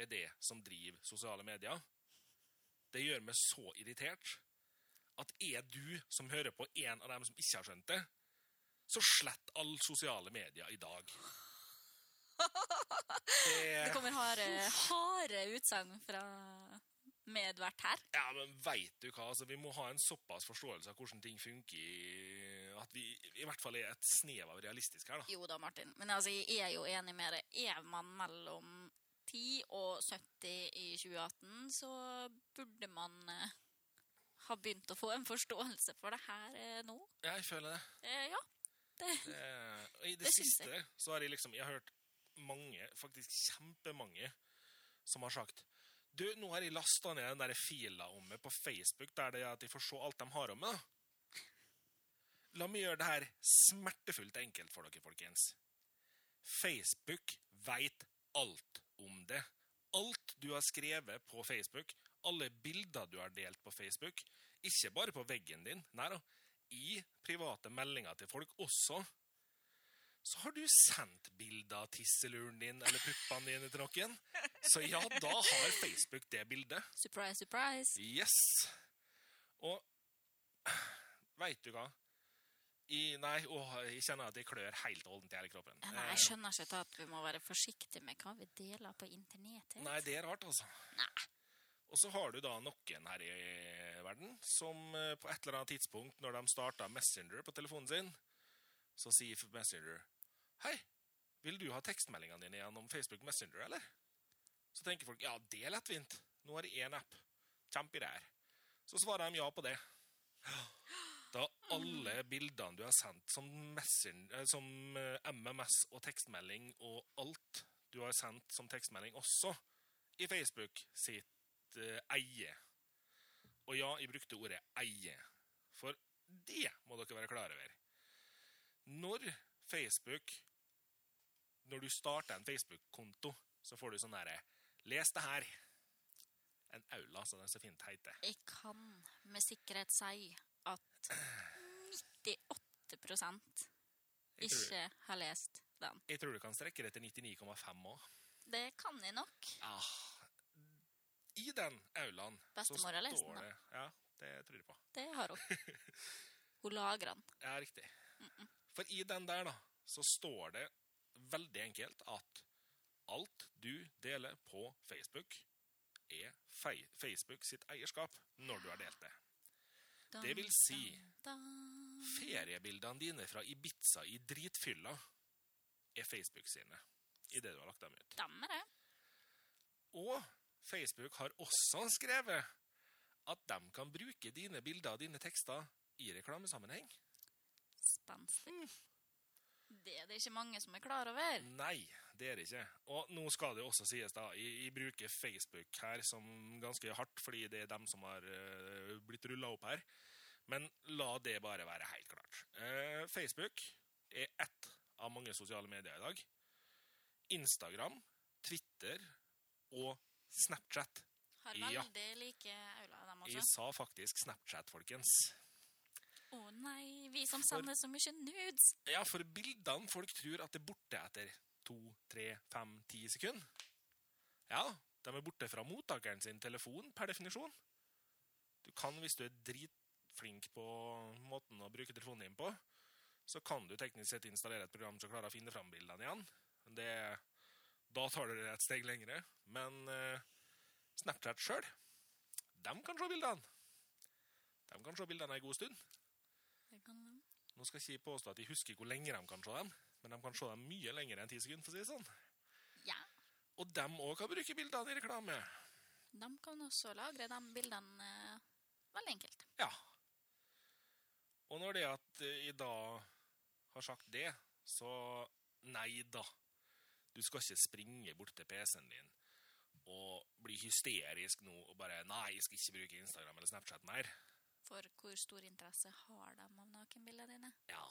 Speaker 1: er det som driver sosiale medier, det gjør meg så irritert at er du som hører på en av dem som ikke har skjønt det, så slett alle sosiale medier i dag.
Speaker 2: Det
Speaker 1: Det,
Speaker 2: kommer harde, harde utsagn fra medvert her.
Speaker 1: ja, men veit du hva? Altså, vi må ha en såpass forståelse av hvordan ting funker, i- at vi i hvert fall er et snev av realistisk her, da.
Speaker 2: Jo da, Martin. Men altså, jeg er jo enig med deg. Er man mellom 10 og 70 i 2018, så burde man eh, ha begynt å få en forståelse for det her eh, nå.
Speaker 1: Ja, Jeg føler det.
Speaker 2: Eh, ja.
Speaker 1: det Eh, og I det,
Speaker 2: Det syns
Speaker 1: siste så har jeg liksom Jeg har hørt mange, faktisk kjempemange, som har sagt Du, nå har jeg lasta ned den der fila om meg på Facebook der det er at de får se alt de har om meg, da. La meg gjøre det her smertefullt enkelt for dere, folkens. Facebook veit alt om det. Alt du har skrevet på Facebook, alle bilder du har delt på Facebook, ikke bare på veggen din, nei da, i private meldinger til folk også, så har du sendt bilder av tisseluren din eller puppene dine til noen. Så ja, da har Facebook det bildet.
Speaker 2: Surprise, surprise.
Speaker 1: Yes. Og veit du hva? I, nei, åh, jeg kjenner at jeg klør helt og holdent i hele kroppen.
Speaker 2: Ja, Nei,
Speaker 1: Eh,
Speaker 2: jeg skjønner ikke at vi må være forsiktige med hva vi deler på internettet.
Speaker 1: Nei, det er rart, altså.
Speaker 2: Nei.
Speaker 1: Og så har du da noen her i verden som eh, på et eller annet tidspunkt, når de starta Messenger på telefonen sin, så sier f- Messenger Hei, vil du ha tekstmeldingene dine gjennom Facebook Messenger, eller? Så tenker folk ja, det er lettvint. Nå har jeg én app. Kjempegreier. Så svarer de ja på det. Da alle bildene du har sendt som, messen- eh, som eh, MMS og tekstmelding og alt du har sendt som tekstmelding også i Facebook sitt eh, eie. Og ja, jeg brukte ordet eie. For det må dere være klar over. Når Facebook Når du starter en Facebook-konto, så får du sånn derre Les det her. En aula, som den så fint heter.
Speaker 2: Jeg kan med sikkerhet si at 98
Speaker 1: Jeg tror,
Speaker 2: ikke har lest den.
Speaker 1: jeg tror du kan strekke det til 99,5 òg.
Speaker 2: Det kan jeg nok.
Speaker 1: Ah. I den aulaen så
Speaker 2: Bestemor
Speaker 1: står
Speaker 2: har
Speaker 1: det
Speaker 2: lest den, da.
Speaker 1: Ja, det tror jeg på.
Speaker 2: Det har hun. Hun lagrer den.
Speaker 1: Ja, riktig. For i den der, da, så står det veldig enkelt at alt du deler på Facebook, er fei- Facebook sitt eierskap når du har delt det.
Speaker 2: Dun,
Speaker 1: Det vil si-
Speaker 2: dun, dun.
Speaker 1: Feriebildene dine fra Ibiza i dritfylla er Facebook sine. I det du har lagt dem ut.
Speaker 2: Stemmer det.
Speaker 1: Og Facebook har også skrevet at de kan bruke dine bilder og dine tekster i reklamesammenheng. Mm.
Speaker 2: Spenstig. Det er det ikke mange som er klar over.
Speaker 1: Nei, det er det ikke. Og nå skal det jo også sies, da. Jeg, jeg bruker Facebook her som ganske hardt, fordi det er dem som har øh, blitt rulla opp her. Men la det bare være helt klart. Eh, Facebook er ett av mange sosiale medier i dag. Instagram, Twitter og Snapchat.
Speaker 2: Har
Speaker 1: Ja.
Speaker 2: veldig like aula, dem
Speaker 1: Jeg
Speaker 2: også.
Speaker 1: sa faktisk Snapchat, folkens.
Speaker 2: Å nei, vi som sender så mye nudes.
Speaker 1: Ja, for bildene folk tror at det er borte etter to, tre, fem, ti sekunder. Ja, de er borte fra mottakeren sin telefon, per definisjon. Du kan, hvis du er dritflink på måten å bruke telefonen din på, så kan du teknisk sett installere et program som klarer å finne fram bildene igjen. Det, da tar du det et steg lengre. Men eh, Snapchat sjøl, de kan se bildene. De kan se bildene en god stund.
Speaker 2: Det kan de.
Speaker 1: Nå skal ikke jeg påstå at de husker hvor lenge de kan se dem, men de kan se dem mye lenger enn ti sekunder. for å si det sånn.
Speaker 2: Ja.
Speaker 1: Og dem òg kan bruke bildene i reklame.
Speaker 2: De kan også lagre de bildene eh, veldig enkelt.
Speaker 1: Ja. Og når det at eh, jeg da har sagt det, så nei da. Du skal ikke springe bort til PC-en din og bli hysterisk nå og bare Nei, jeg skal ikke bruke Instagram eller Snapchat mer.
Speaker 2: For hvor stor interesse har de av nakenbildene dine?
Speaker 1: Ja.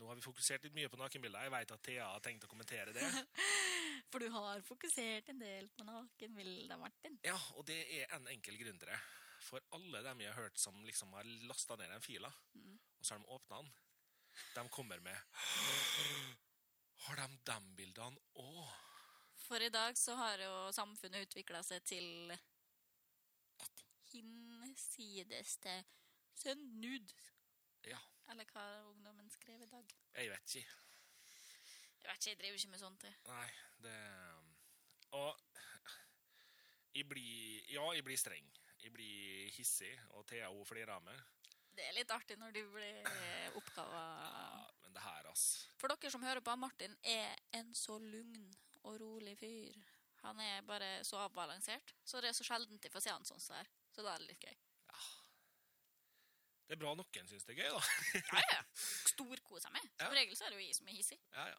Speaker 1: Nå har vi fokusert litt mye på nakenbilder. Jeg veit at Thea har tenkt å kommentere det.
Speaker 2: For du har fokusert en del på nakenbilder, Martin.
Speaker 1: Ja, og det er en enkel grunn til det. For alle dem jeg har hørt som liksom har lasta ned den fila,
Speaker 2: Mm.
Speaker 1: og så har de åpna den, de kommer med Har de dem bildene òg?
Speaker 2: For i dag så har jo samfunnet utvikla seg til et hinsideste Send nudes.
Speaker 1: Ja.
Speaker 2: Eller hva ungdommen skrev i dag.
Speaker 1: Jeg vet ikke.
Speaker 2: Jeg vet ikke, jeg driver ikke med sånt. jeg.
Speaker 1: Nei, det Og jeg blir Ja, jeg blir streng. Jeg blir hissig, og Thea hun flirer av meg.
Speaker 2: Det er litt artig når du blir eh, oppgava
Speaker 1: Ja, men det her, ass.
Speaker 2: For dere som hører på, Martin er en så lugn og rolig fyr. Han er bare så avbalansert. Så det er så sjelden jeg får se han sånn som her. Så da er det litt gøy.
Speaker 1: Det er bra noen syns det er gøy, da.
Speaker 2: Ja, ja. Storkoser meg. Som
Speaker 1: Ja.
Speaker 2: regel så er det jo jeg som er hissig.
Speaker 1: Ja, ja.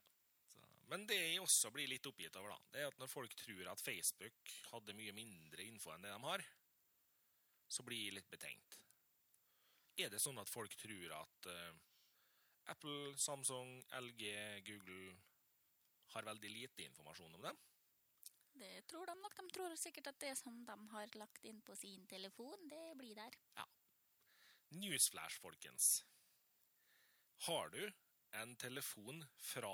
Speaker 1: Så, men det jeg også blir litt oppgitt over, da, det er at når folk tror at Facebook hadde mye mindre info enn det de har, så blir jeg litt betenkt. Er det sånn at folk tror at eh, Apple, Samsung, LG, Google har veldig lite informasjon om dem?
Speaker 2: Det tror de nok. De tror sikkert at det som de har lagt inn på sin telefon, det blir der.
Speaker 1: Newsflash, folkens. Har du en telefon fra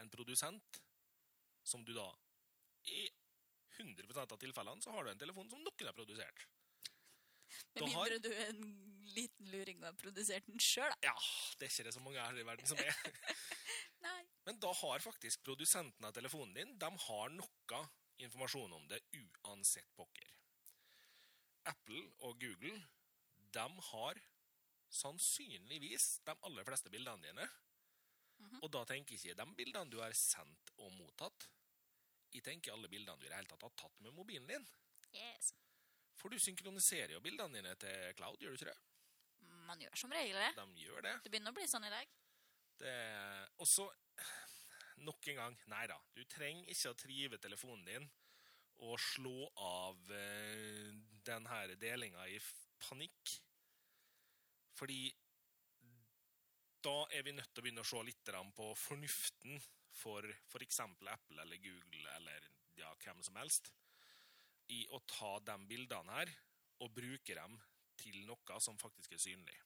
Speaker 1: en produsent, som du da I 100 av tilfellene så har du en telefon som noen har produsert.
Speaker 2: Med
Speaker 1: Da har-
Speaker 2: mindre du er en liten luring og har produsert den sjøl, da.
Speaker 1: Ja, det er ikke det så mange her i verden som er.
Speaker 2: Nei.
Speaker 1: Men da har faktisk produsenten av telefonen din de har noe informasjon om det uansett pokker. Apple og Google de har sannsynligvis de aller fleste bildene dine.
Speaker 2: Mhm.
Speaker 1: Og da tenker jeg ikke de bildene du har sendt og mottatt. Jeg tenker alle bildene du i det hele tatt har tatt med mobilen din.
Speaker 2: Yes.
Speaker 1: For du synkroniserer jo bildene dine til cloud, gjør du ikke det?
Speaker 2: Man gjør som regel det.
Speaker 1: De gjør det.
Speaker 2: Det begynner å bli sånn i dag.
Speaker 1: Det eh, Og så Nok en gang. Nei da. Du trenger ikke å trive telefonen din og slå av eh, den her delinga i f- panikk. Fordi da er vi nødt til å begynne å se litt grann på fornuften for f.eks. Apple eller Google eller ja, hvem som helst i å ta de bildene her og bruke dem til noe som faktisk er synlig.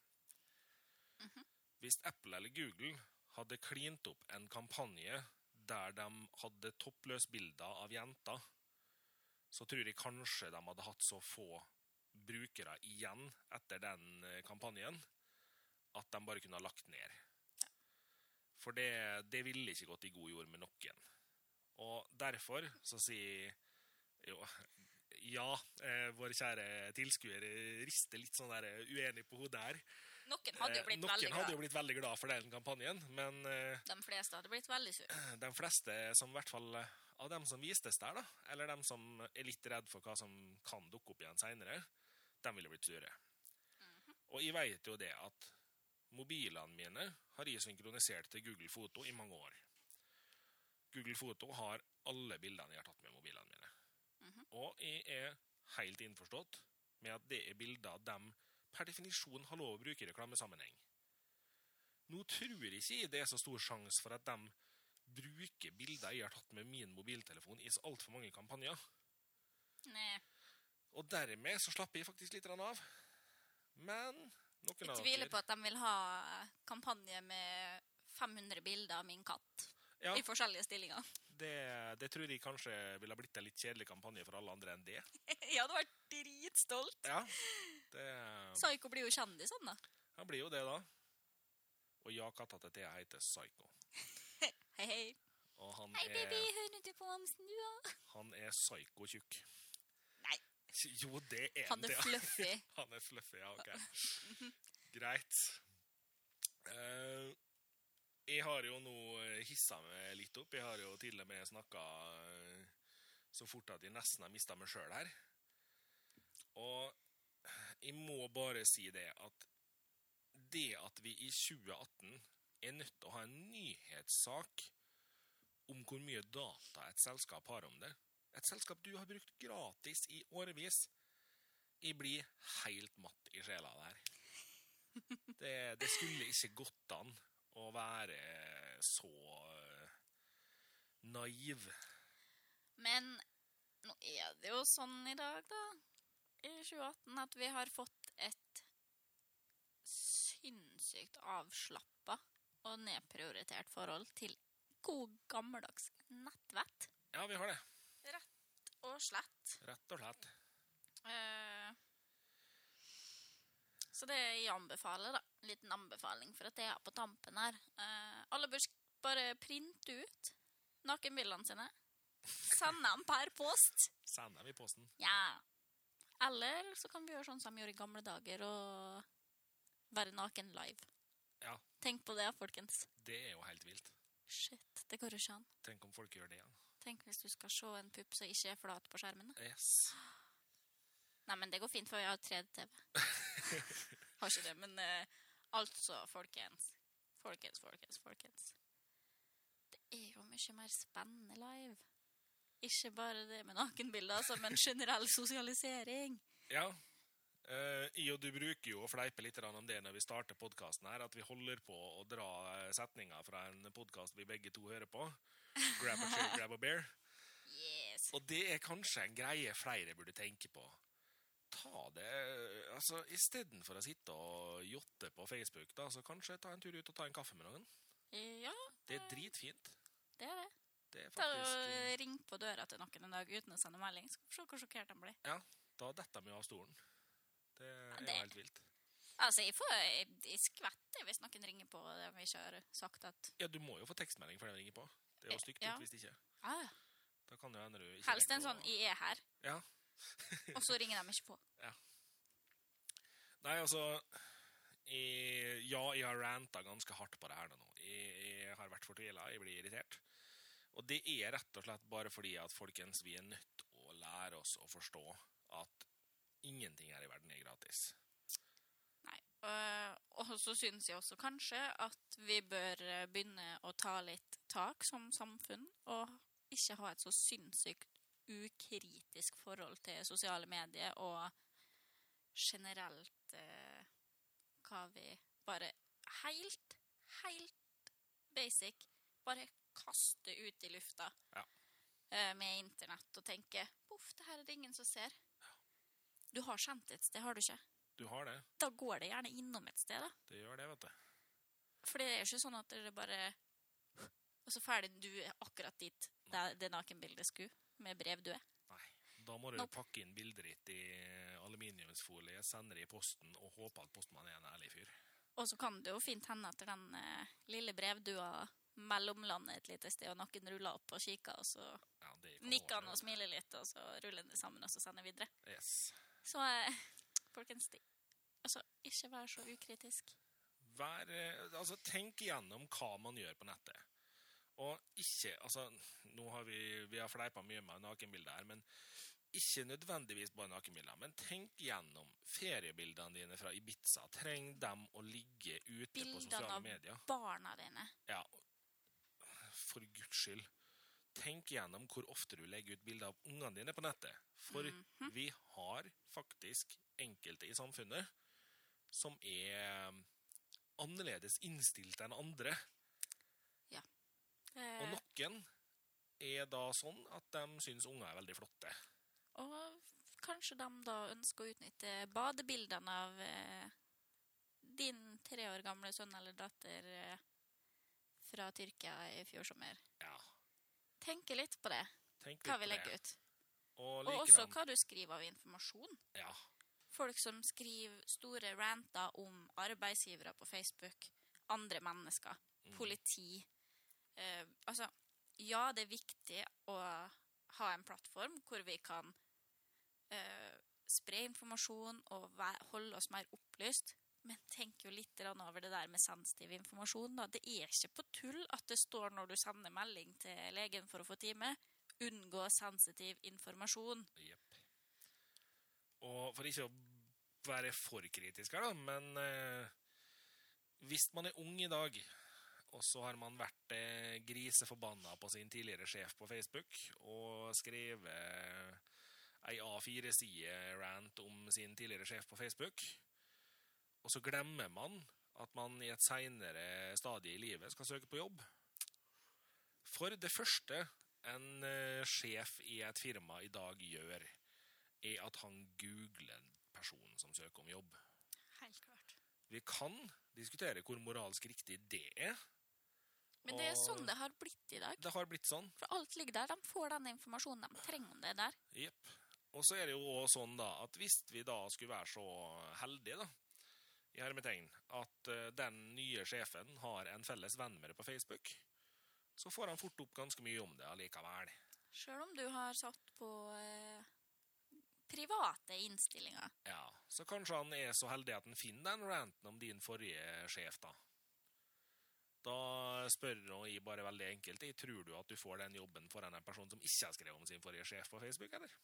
Speaker 1: Hvis Apple eller Google hadde klint opp en kampanje der de hadde toppløsbilder av jenter, så tror jeg kanskje de hadde hatt så få brukere igjen etter den eh, kampanjen at de bare kunne ha lagt ned. For det, det ville ikke gått i god jord med noen. Og derfor så sier jo, ja, eh, vår kjære tilskuer eh, rister litt sånn der eh, uenig på hodet her.
Speaker 2: Noen hadde jo
Speaker 1: Eh,
Speaker 2: blitt
Speaker 1: Noen
Speaker 2: veldig
Speaker 1: hadde jo
Speaker 2: glad.
Speaker 1: blitt veldig glad for den kampanjen, men eh,
Speaker 2: De fleste hadde blitt veldig sure.
Speaker 1: de fleste som i hvert fall eh, av dem som vistes der, da, eller dem som er litt redd for hva som kan dukke opp igjen seinere, de ville blitt sure. Og jeg veit jo det at mobilene mine har jeg synkronisert til Google Foto i mange år. Google Foto har alle bildene jeg har tatt med mobilene mine.
Speaker 2: Mhm.
Speaker 1: Og jeg er helt innforstått med at det er bilder de per definisjon har lov å bruke i reklamesammenheng. Nå tror jeg ikke det er så stor sjanse for at de bruker bilder jeg har tatt med min mobiltelefon i så altfor mange kampanjer.
Speaker 2: Nei.
Speaker 1: Og dermed så slapper jeg faktisk litt grann av. Men noen
Speaker 2: Jeg
Speaker 1: av
Speaker 2: tviler
Speaker 1: dere
Speaker 2: på at de vil ha kampanje med 500 bilder av min katt
Speaker 1: Ja.
Speaker 2: i forskjellige stillinger.
Speaker 1: det, det tror jeg kanskje ville ha blitt en litt kjedelig kampanje for alle andre enn det.
Speaker 2: jeg hadde vært dritstolt.
Speaker 1: Ja, det,
Speaker 2: Psycho blir jo kjendis, han da.
Speaker 1: han blir jo det, da. Og ja, katta til Thea heter Psycho.
Speaker 2: Hei, hei.
Speaker 1: Og han
Speaker 2: Hei,
Speaker 1: er,
Speaker 2: baby, hører du på Hamsen, du òg?
Speaker 1: han er psyko-tjukk.
Speaker 2: Nei.
Speaker 1: Jo, det er
Speaker 2: Han er
Speaker 1: Thea.
Speaker 2: fluffy.
Speaker 1: Han er fluffy, ja, ok. Greit. Eh, jeg har jo nå eh, hissa meg litt opp. Jeg har jo til og med snakka eh, så fort at jeg nesten har mista meg sjøl her. Og jeg må bare si det at det at vi i 2018 er nødt til å ha en nyhetssak om hvor mye data et selskap har om det Et selskap du har brukt gratis i årevis. Jeg blir helt matt i sjela der. Det, det skulle ikke gått an å være så eh, naiv.
Speaker 2: Men nå er det jo sånn i dag, da, i 2018, at vi har fått et sinnssykt avslappa og nedprioritert forhold til god, gammeldags nettvett.
Speaker 1: Ja, vi har det.
Speaker 2: Og slett.
Speaker 1: Rett og slett.
Speaker 2: Eh, Så det jeg anbefaler, da. En liten anbefaling for at jeg har på tampen her. Eh, Alle bør sk- bare printe ut nakenbildene sine. Sende dem per post.
Speaker 1: Send dem i posten.
Speaker 2: Ja. Eller så kan vi gjøre sånn som de gjorde i gamle dager, og være naken live.
Speaker 1: Ja.
Speaker 2: Tenk på det, folkens.
Speaker 1: Det er jo helt vilt.
Speaker 2: Shit, det går jo ikke an.
Speaker 1: Tenk om folk gjør det igjen.
Speaker 2: Tenk hvis du skal se en pupp som ikke er flat på skjermen. da.
Speaker 1: Yes.
Speaker 2: Nei, men det går fint, for jeg har 3D-TV. har ikke det, men eh, altså, folkens. Folkens, folkens, folkens. Det er jo mye mer spennende live. Ikke bare det med nakenbilder, altså, men generell sosialisering.
Speaker 1: Ja. Eh, I og du bruker jo å fleipe litt grann om det når vi starter podkasten her, at vi holder på å dra eh, setninger fra en podkast vi begge to hører på. Grab a chair, grab a bear.
Speaker 2: Yes.
Speaker 1: Og det er kanskje en greie flere burde tenke på. Ta det altså Istedenfor å sitte og jotte på Facebook, da, så kanskje ta en tur ut og ta en kaffe med noen.
Speaker 2: Ja,
Speaker 1: Det er dritfint.
Speaker 2: det er det.
Speaker 1: Det er
Speaker 2: Ta og
Speaker 1: faktisk eh,
Speaker 2: Ring på døra til noen en dag uten å sende melding. Skal vi se hvor sjokkert de blir.
Speaker 1: Da detter de jo av stolen. Det er
Speaker 2: det-
Speaker 1: jo helt vilt.
Speaker 2: Altså, jeg, får, jeg, jeg skvetter hvis noen ringer på og de ikke har sagt at
Speaker 1: Ja, du må jo få tekstmelding for den ringer på. Det er jo stygt
Speaker 2: Eh, Ja.
Speaker 1: gjort hvis ikke.
Speaker 2: ah,
Speaker 1: Da kan det jo hende du ikke
Speaker 2: Helst en
Speaker 1: rekker å-
Speaker 2: sånn 'jeg er her',
Speaker 1: Ja.
Speaker 2: og så ringer de ikke på.
Speaker 1: Nei, altså jeg, Ja, jeg har ranta ganske hardt på det her nå. Jeg, jeg har vært fortvila, jeg blir irritert. Og det er rett og slett bare fordi at folkens, vi er nødt å lære oss å forstå at ingenting her i verden er gratis.
Speaker 2: Eh, og så syns jeg også kanskje at vi bør eh, begynne å ta litt tak som samfunn, og ikke ha et så sinnssykt ukritisk forhold til sosiale medier og generelt eh, hva vi bare helt, helt basic bare kaster ut i lufta
Speaker 1: Ja.
Speaker 2: eh, med internett og tenker Poff, det her er det ingen som ser. Du har sendt et sted, har du ikke?
Speaker 1: Du har det.
Speaker 2: Da går det gjerne innom et sted, da.
Speaker 1: Det gjør det, vet du.
Speaker 2: For det er jo ikke sånn at dere bare Og så ferdig du er akkurat dit der det nakenbildet skulle, med brev du er.
Speaker 1: Da må du
Speaker 2: Nope.
Speaker 1: pakke inn bildet ditt i aluminiumsfolie, sende det i posten og håpe at postmannen er en ærlig fyr.
Speaker 2: Og så kan det jo fint hende etter den eh, lille brevdua mellomlandet et lite sted, og noen ruller opp og kikker, og så
Speaker 1: Ja, det er
Speaker 2: nikker han og smiler litt, og så ruller han det sammen, og så sender han videre.
Speaker 1: Yes.
Speaker 2: Så eh, folkens de- Altså, ikke vær så ukritisk.
Speaker 1: Vær, eh, altså, tenk igjennom hva man gjør på nettet. Og ikke altså, nå har Vi, vi har fleipa mye med nakenbilder her, men ikke nødvendigvis bare nakenbilder. Men tenk gjennom feriebildene dine fra Ibiza. Trenger dem å ligge ute på
Speaker 2: Bildene
Speaker 1: sosiale
Speaker 2: av-
Speaker 1: medier?
Speaker 2: Barna dine.
Speaker 1: Ja, for guds skyld. Tenk gjennom hvor ofte du legger ut bilder av ungene dine på nettet. For
Speaker 2: Mhm.
Speaker 1: vi har faktisk enkelte i samfunnet som er um, annerledes innstilt enn andre. Og
Speaker 2: Eh,
Speaker 1: noen er da sånn at de syns unger er veldig flotte.
Speaker 2: Og kanskje de da ønsker å utnytte badebildene av eh, din tre år gamle sønn eller datter eh, fra Tyrkia i fjor sommer.
Speaker 1: Ja,
Speaker 2: Tenke litt på det,
Speaker 1: tenk litt
Speaker 2: hva
Speaker 1: på
Speaker 2: vi legger
Speaker 1: det.
Speaker 2: ut.
Speaker 1: Og,
Speaker 2: Og
Speaker 1: likedan-
Speaker 2: også hva du skriver av informasjon.
Speaker 1: Ja,
Speaker 2: Folk som skriver store ranter om arbeidsgivere på Facebook, andre mennesker
Speaker 1: mm,
Speaker 2: politi. Eh, altså, ja, det er viktig å ha en plattform hvor vi kan eh, spre informasjon og væ- holde oss mer opplyst. Men tenk jo litt grann over det der med sensitiv informasjon. Da. Det er ikke på tull at det står når du sender melding til legen for å få time, unngå sensitiv informasjon.
Speaker 1: Jepp. Og for ikke å være for kritisk her, da, men eh, hvis man er ung i dag, og så har man vært eh, griseforbanna på sin tidligere sjef på Facebook og skrevet ei A4-side-rant om sin tidligere sjef på Facebook, og så glemmer man at man i et seinere stadie i livet skal søke på jobb. For det første en eh, sjef i et firma i dag gjør, er at han googler personen som søker om jobb.
Speaker 2: Helt klart.
Speaker 1: Vi kan diskutere hvor moralsk riktig det er.
Speaker 2: Men det er
Speaker 1: Og-
Speaker 2: sånn det har blitt i dag.
Speaker 1: Det har blitt sånn.
Speaker 2: For alt ligger der. De får den informasjonen de trenger om det der.
Speaker 1: Jepp. Og så er det jo også sånn da, at hvis vi da skulle være så heldige, da, i hermetegn, at eh, den nye sjefen har en felles venn med deg på Facebook, så får han fort opp ganske mye om det allikevel.
Speaker 2: Sjøl om du har satt på eh, private innstillinger.
Speaker 1: Ja, Så kanskje han er så heldig at han finner den ranten om din forrige sjef, da. Da spør nå jeg bare veldig enkelt jeg, tror du at du får den jobben foran en person som ikke har skrevet om sin forrige sjef på Facebook, eller?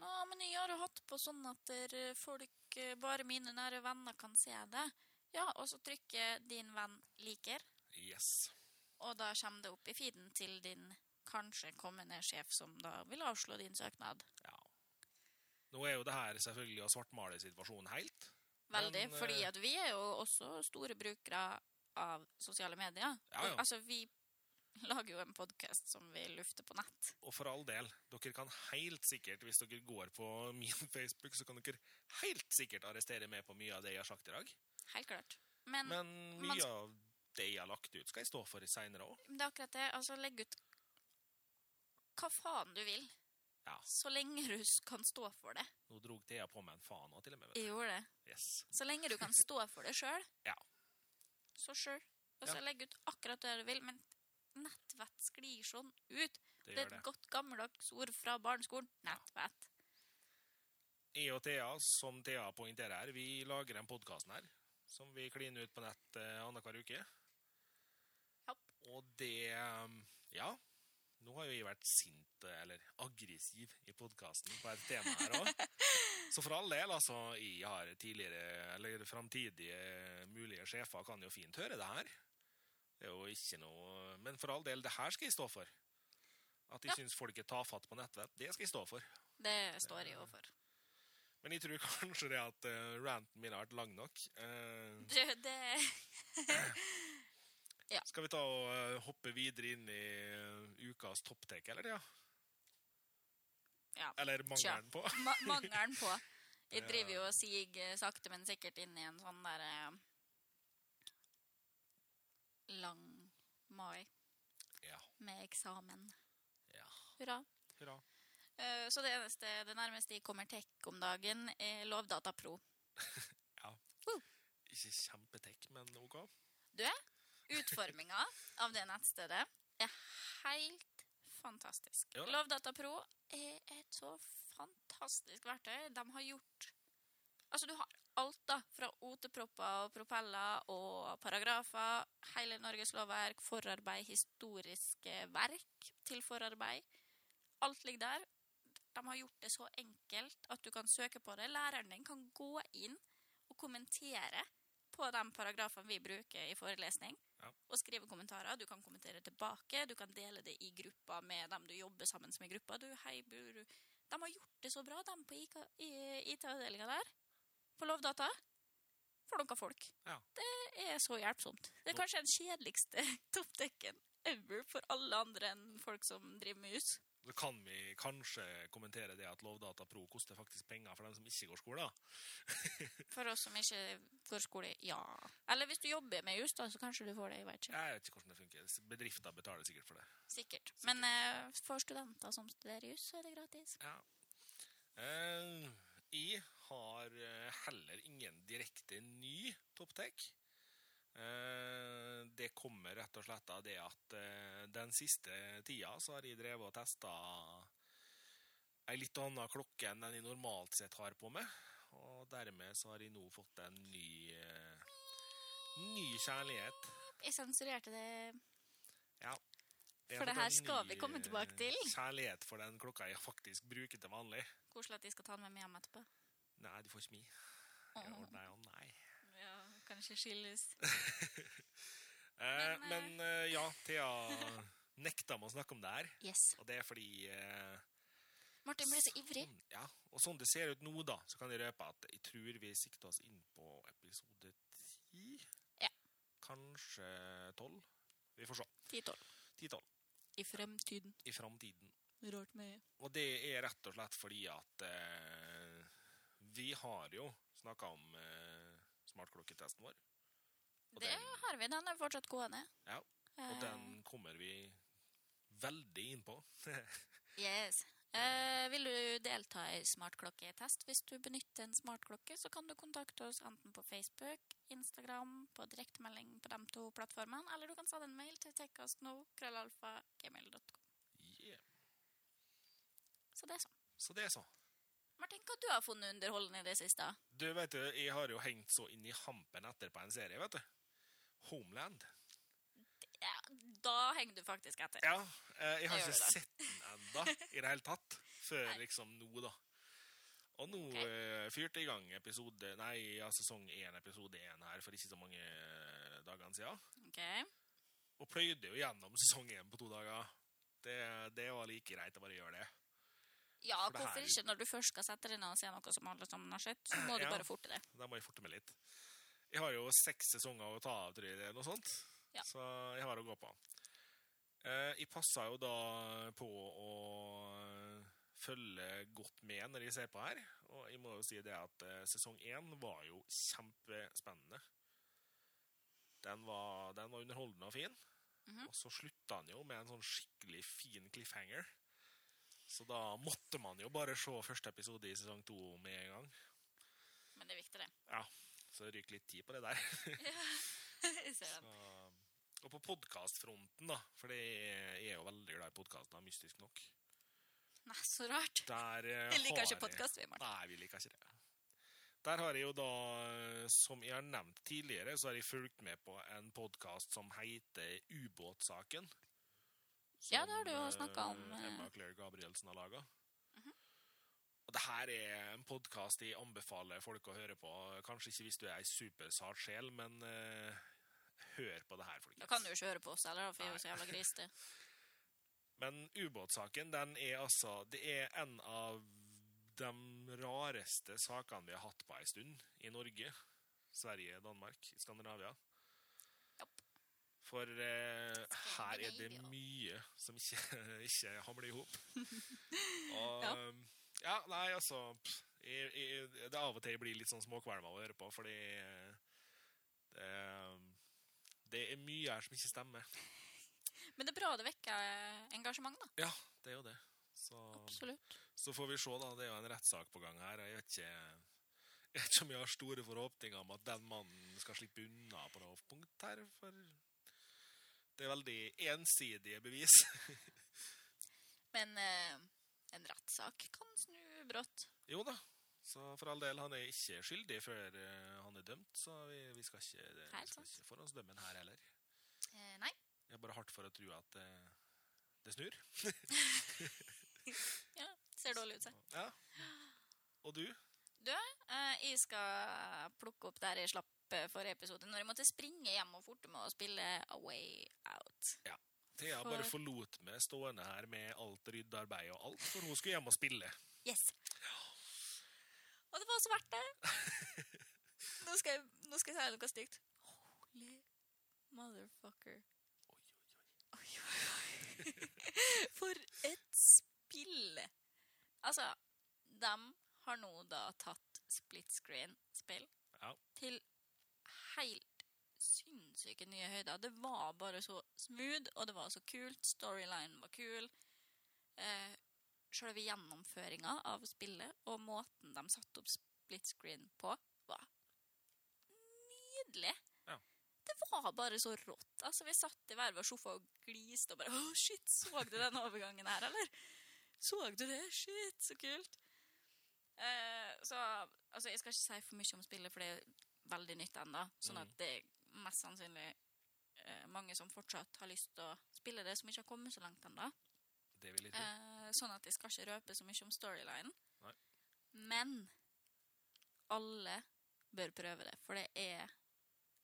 Speaker 2: Nå, men jeg har jo hatt på sånn at der folk, eh, bare mine nære venner kan se det. Ja, og så trykker din venn liker,
Speaker 1: Yes.
Speaker 2: og da kommer det opp i feeden til din kanskje kommende sjef, som da vil avslå din søknad.
Speaker 1: Ja. Nå er jo det her selvfølgelig å svartmale situasjonen helt.
Speaker 2: Veldig,
Speaker 1: Men, eh,
Speaker 2: fordi at vi er jo også store brukere av sosiale medier.
Speaker 1: Ja, ja.
Speaker 2: Altså, vi lager jo en podkast som vi lufter på nett.
Speaker 1: Og for all del, dere kan helt sikkert, hvis dere går på min Facebook, så kan dere helt sikkert arrestere meg på mye av det jeg har sagt i dag.
Speaker 2: Helt klart. Men,
Speaker 1: Men
Speaker 2: man
Speaker 1: mye av det jeg har lagt ut, skal jeg stå for seinere òg.
Speaker 2: det er akkurat det. Altså, legg ut hva faen du vil.
Speaker 1: Ja.
Speaker 2: Så lenge du s- kan stå for det.
Speaker 1: Nå drog Thea på meg en faen òg, til og med. vet
Speaker 2: Jeg gjorde det.
Speaker 1: du. Yes.
Speaker 2: Så lenge du kan stå for det sjøl,
Speaker 1: Ja.
Speaker 2: så sjøl. Og så
Speaker 1: Ja.
Speaker 2: legg ut akkurat det du vil. Men nettvett sklir sånn ut.
Speaker 1: Det
Speaker 2: Det er
Speaker 1: gjør det.
Speaker 2: et godt gammeldags ord fra barneskolen. Nettvett.
Speaker 1: Jeg og Thea, som Thea poengterer her, vi lager en podkast her som vi kliner ut på nett eh, annenhver uke.
Speaker 2: Japp.
Speaker 1: Og det um, Ja. Nå har jo jeg vært sint, eh, eller aggressiv, i podkasten på et tema her òg. Så for all del, altså. Jeg har tidligere, eller framtidige mulige sjefer kan jo fint høre det her. Det er jo ikke noe Men for all del, det her skal jeg stå for. At jeg
Speaker 2: Ja.
Speaker 1: syns folk er tafatt på nettvett, det skal jeg stå for.
Speaker 2: Det står jeg jo for.
Speaker 1: Men jeg tror kanskje det at eh, ranten min har vært lang nok. Eh,
Speaker 2: Du, det
Speaker 1: skal vi ta og eh, hoppe videre inn i eh, ukas topptek, eller? Ja.
Speaker 2: Ja.
Speaker 1: Eller mangelen på.
Speaker 2: ma Mangelen på. Jeg
Speaker 1: Ja.
Speaker 2: driver jo og siger eh, sakte, men sikkert inn i en sånn der eh, lang mai
Speaker 1: Ja.
Speaker 2: med eksamen.
Speaker 1: Ja.
Speaker 2: Hurra.
Speaker 1: Hurra.
Speaker 2: Eh, Så det eneste, det nærmeste jeg kommer tech om dagen, er Lovdata Pro.
Speaker 1: Ikke kjempetek, men OK.
Speaker 2: Utforminga av det nettstedet er helt fantastisk.
Speaker 1: Ja.
Speaker 2: Lovdata Pro er et så fantastisk verktøy. De har gjort Altså, du har alt, da. Fra OT-propper og propeller og paragrafer, hele Norges lovverk, forarbeid, historiske verk til forarbeid. Alt ligger der. De har gjort det så enkelt at du kan søke på det. Læreren din kan gå inn og kommentere på de paragrafene vi bruker i forelesning,
Speaker 1: Ja.
Speaker 2: og skrive kommentarer. Du kan kommentere tilbake, du kan dele det i gruppa med dem du jobber sammen med i gruppa. Du, hei, bur, du. De har gjort det så bra, de på IK- i- IT-avdelinga der. På Lovdata. For noen folk.
Speaker 1: Ja.
Speaker 2: Det er så hjelpsomt. Det er
Speaker 1: Nå-
Speaker 2: kanskje den kjedeligste toppdekken ever for alle andre enn folk som driver med hus.
Speaker 1: Så kan vi kanskje kommentere det at Lovdata Pro koster faktisk penger for dem som ikke går skole. da.
Speaker 2: For oss som ikke går skole, ja. Eller hvis du jobber med hus, da, så kanskje du får det. Jeg vet ikke.
Speaker 1: Jeg vet ikke hvordan det funker. Bedrifter betaler sikkert for det.
Speaker 2: Sikkert. Men eh, for studenter som studerer jus, så er det gratis.
Speaker 1: Ja. Eh, jeg har eh, heller ingen direkte ny topptek. Eh, det kommer rett og slett av det at eh, den siste tida så har jeg drevet og testa ei litt anna klokke enn den jeg normalt sett har på meg. Og dermed så har jeg nå fått en ny eh, ny kjærlighet.
Speaker 2: Jeg sensurerte det.
Speaker 1: Jeg har
Speaker 2: For det
Speaker 1: fått
Speaker 2: her
Speaker 1: en
Speaker 2: skal vi
Speaker 1: ny,
Speaker 2: komme tilbake
Speaker 1: eh,
Speaker 2: til.
Speaker 1: Kjærlighet for den klokka jeg faktisk bruker til vanlig.
Speaker 2: Koselig at jeg skal ta den med meg hjem etterpå.
Speaker 1: Nei, du får ikke mi.
Speaker 2: Åh,
Speaker 1: Ja, nei og nei.
Speaker 2: ja, kanskje skilles.
Speaker 1: Eh,
Speaker 2: Men, eh,
Speaker 1: men eh, ja, Thea nekta meg å snakke om det her.
Speaker 2: Yes.
Speaker 1: Og det er fordi eh,
Speaker 2: Martin blir så ivrig.
Speaker 1: Sånn, ja. Og sånn det ser ut nå, da, så kan jeg røpe at jeg tror vi sikter oss inn på episode ti.
Speaker 2: Ja.
Speaker 1: Kanskje tolv. Vi får se.
Speaker 2: 10-12.
Speaker 1: Ti-tolv.
Speaker 2: I fremtiden.
Speaker 1: I framtiden.
Speaker 2: Rart med
Speaker 1: Og det er rett og slett fordi at eh, vi har jo snakka om eh, smartklokketesten vår. Og
Speaker 2: Det
Speaker 1: den-
Speaker 2: har vi. Den er fortsatt gående.
Speaker 1: Ja, Og
Speaker 2: Eh,
Speaker 1: den kommer vi veldig inn på.
Speaker 2: Yes. Eh, vil du delta i smartklokketest? Hvis du benytter en smartklokke, så kan du kontakte oss enten på Facebook, Instagram, på direktemelding på de to plattformene, eller du kan sende en mail til tekkastno.krøllalfa.gmail.com.
Speaker 1: Yeah.
Speaker 2: Så det er sånn.
Speaker 1: Så det er sånn.
Speaker 2: Martin, hva du har funnet underholdende i det siste?
Speaker 1: Du vet jo, jeg har jo hengt så inn i hampen etter på en serie, vet du. Homeland.
Speaker 2: Ja, da henger du faktisk etter.
Speaker 1: Ja, eh, jeg har
Speaker 2: Det
Speaker 1: ikke
Speaker 2: gjør det.
Speaker 1: sett den enda i det hele tatt, før
Speaker 2: Nei.
Speaker 1: liksom nå da. Og nå
Speaker 2: Ok.
Speaker 1: eh, fyrte jeg i gang episode, nei, ja, sesong 1, episode 1 her, for ikke så mange eh, dagene siden.
Speaker 2: Ok.
Speaker 1: Og pløyde jo gjennom sesong 1 på to dager. Det, det var like greit å bare gjøre det.
Speaker 2: Ja,
Speaker 1: For det her-
Speaker 2: hvorfor ikke? Når du først skal sette deg ned og se noe som alle sammen har sett, så må du
Speaker 1: Ja.
Speaker 2: bare forte det.
Speaker 1: Da må jeg forte meg litt. Jeg har jo seks sesonger å ta av, tror jeg, eller noe sånt.
Speaker 2: Ja.
Speaker 1: Så jeg har å gå på. Eh, Jeg passer jo da på å eh, følge godt med når jeg ser på her. Og jeg må jo si det at eh, sesong én var jo kjempespennende. Den var, den var underholdende og fin.
Speaker 2: Mhm.
Speaker 1: Og så slutta han jo med en sånn skikkelig fin cliffhanger. Så da måtte man jo bare se første episode i sesong to med en gang.
Speaker 2: Men det er viktig, det.
Speaker 1: Så det ryker litt tid på det der.
Speaker 2: Jeg ser den.
Speaker 1: Så, og på podkastfronten, da. For jeg er jo veldig glad i podkasten, mystisk nok.
Speaker 2: Nei, så rart.
Speaker 1: Der eh,
Speaker 2: Jeg liker
Speaker 1: har
Speaker 2: ikke
Speaker 1: jeg-
Speaker 2: podkast, vi, Martin.
Speaker 1: Nei, vi liker ikke det. Der har jeg jo da, eh, som jeg har nevnt tidligere, så har jeg fulgt med på en podkast som heter Ubåtsaken.
Speaker 2: Ja, det har du jo
Speaker 1: eh,
Speaker 2: snakket om, eh. Mhm.
Speaker 1: Emma Claire Gabrielsen har laga. Og det her er en podkast jeg anbefaler folk å høre på. Kanskje ikke hvis du er ei supersart sjel, men eh, hør på det her, folkens.
Speaker 2: Da kan du jo ikke høre på oss heller, da, for vi er
Speaker 1: Nei.
Speaker 2: jo så jævla grisete.
Speaker 1: Men ubåtsaken, den er altså Det er en av de rareste sakene vi har hatt på ei stund i Norge. Sverige, Danmark, Skandinavia.
Speaker 2: Japp.
Speaker 1: For eh, her er det
Speaker 2: Skandinavia.
Speaker 1: mye som ikke, ikke hamler i hop. Og ja. nei, altså pff, jeg, jeg, Det er av og til jeg blir litt sånn småkvalm av å høre på, fordi eh, det, det er mye her som ikke stemmer.
Speaker 2: Men det er bra det vekker eh, engasjement, da.
Speaker 1: Det er jo det. Så
Speaker 2: Absolutt.
Speaker 1: Så får vi se, da. Det er jo en rettssak på gang her. Jeg vet ikke, jeg vet ikke om jeg har store forhåpninger om at den mannen skal slippe unna på noe punkt her, for det er veldig ensidige bevis.
Speaker 2: Men eh, en rettssak kan snu brått.
Speaker 1: jo da. Så for all del, han er ikke skyldig før eh, han er dømt, så vi, vi skal ikke, det,
Speaker 2: Helt
Speaker 1: vi skal
Speaker 2: sant.
Speaker 1: ikke forhåndsdømme han her heller.
Speaker 2: Eh, nei.
Speaker 1: Jeg er bare hardt for å tro at eh, det snur.
Speaker 2: Ja, ser dårlig ut, se.
Speaker 1: Ja. Og du?
Speaker 2: Eh, jeg skal plukke opp der jeg slapp eh, forrige episode, når jeg måtte springe hjem og forte meg å spille A Way Out.
Speaker 1: Thea bare
Speaker 2: For-
Speaker 1: forlot meg stående her med alt ryddearbeid og alt, for hun skulle hjem og spille.
Speaker 2: Yes! Og det var så verdt det! nå, skal jeg, nå skal jeg si noe stygt. Holy motherfucker. Oi, oi, oi. For et spill! Altså, de har nå da tatt split screen-spill
Speaker 1: Ja.
Speaker 2: til helt sinnssyke nye høyder. Det var bare så smooth, og det var så kult. Storylinen var kul. Eh, Selve gjennomføringa av spillet og måten de satte opp split screen på, var nydelig.
Speaker 1: Ja.
Speaker 2: Det var bare så rått. Altså, vi satt i hver vår sofa og gliste og bare Å, shit, så du den overgangen her, eller? Så du det? Shit, så kult. Eh, så altså, jeg skal ikke si for mye om spillet, for det er veldig nytt ennå. Sånn
Speaker 1: Mm.
Speaker 2: at det er mest sannsynlig eh, mange som fortsatt har lyst til å spille det, som ikke har kommet så langt ennå.
Speaker 1: Det vil jeg tro.
Speaker 2: Eh, sånn at jeg skal ikke røpe så mye om storylinen.
Speaker 1: Nei.
Speaker 2: Men alle bør prøve det, for det er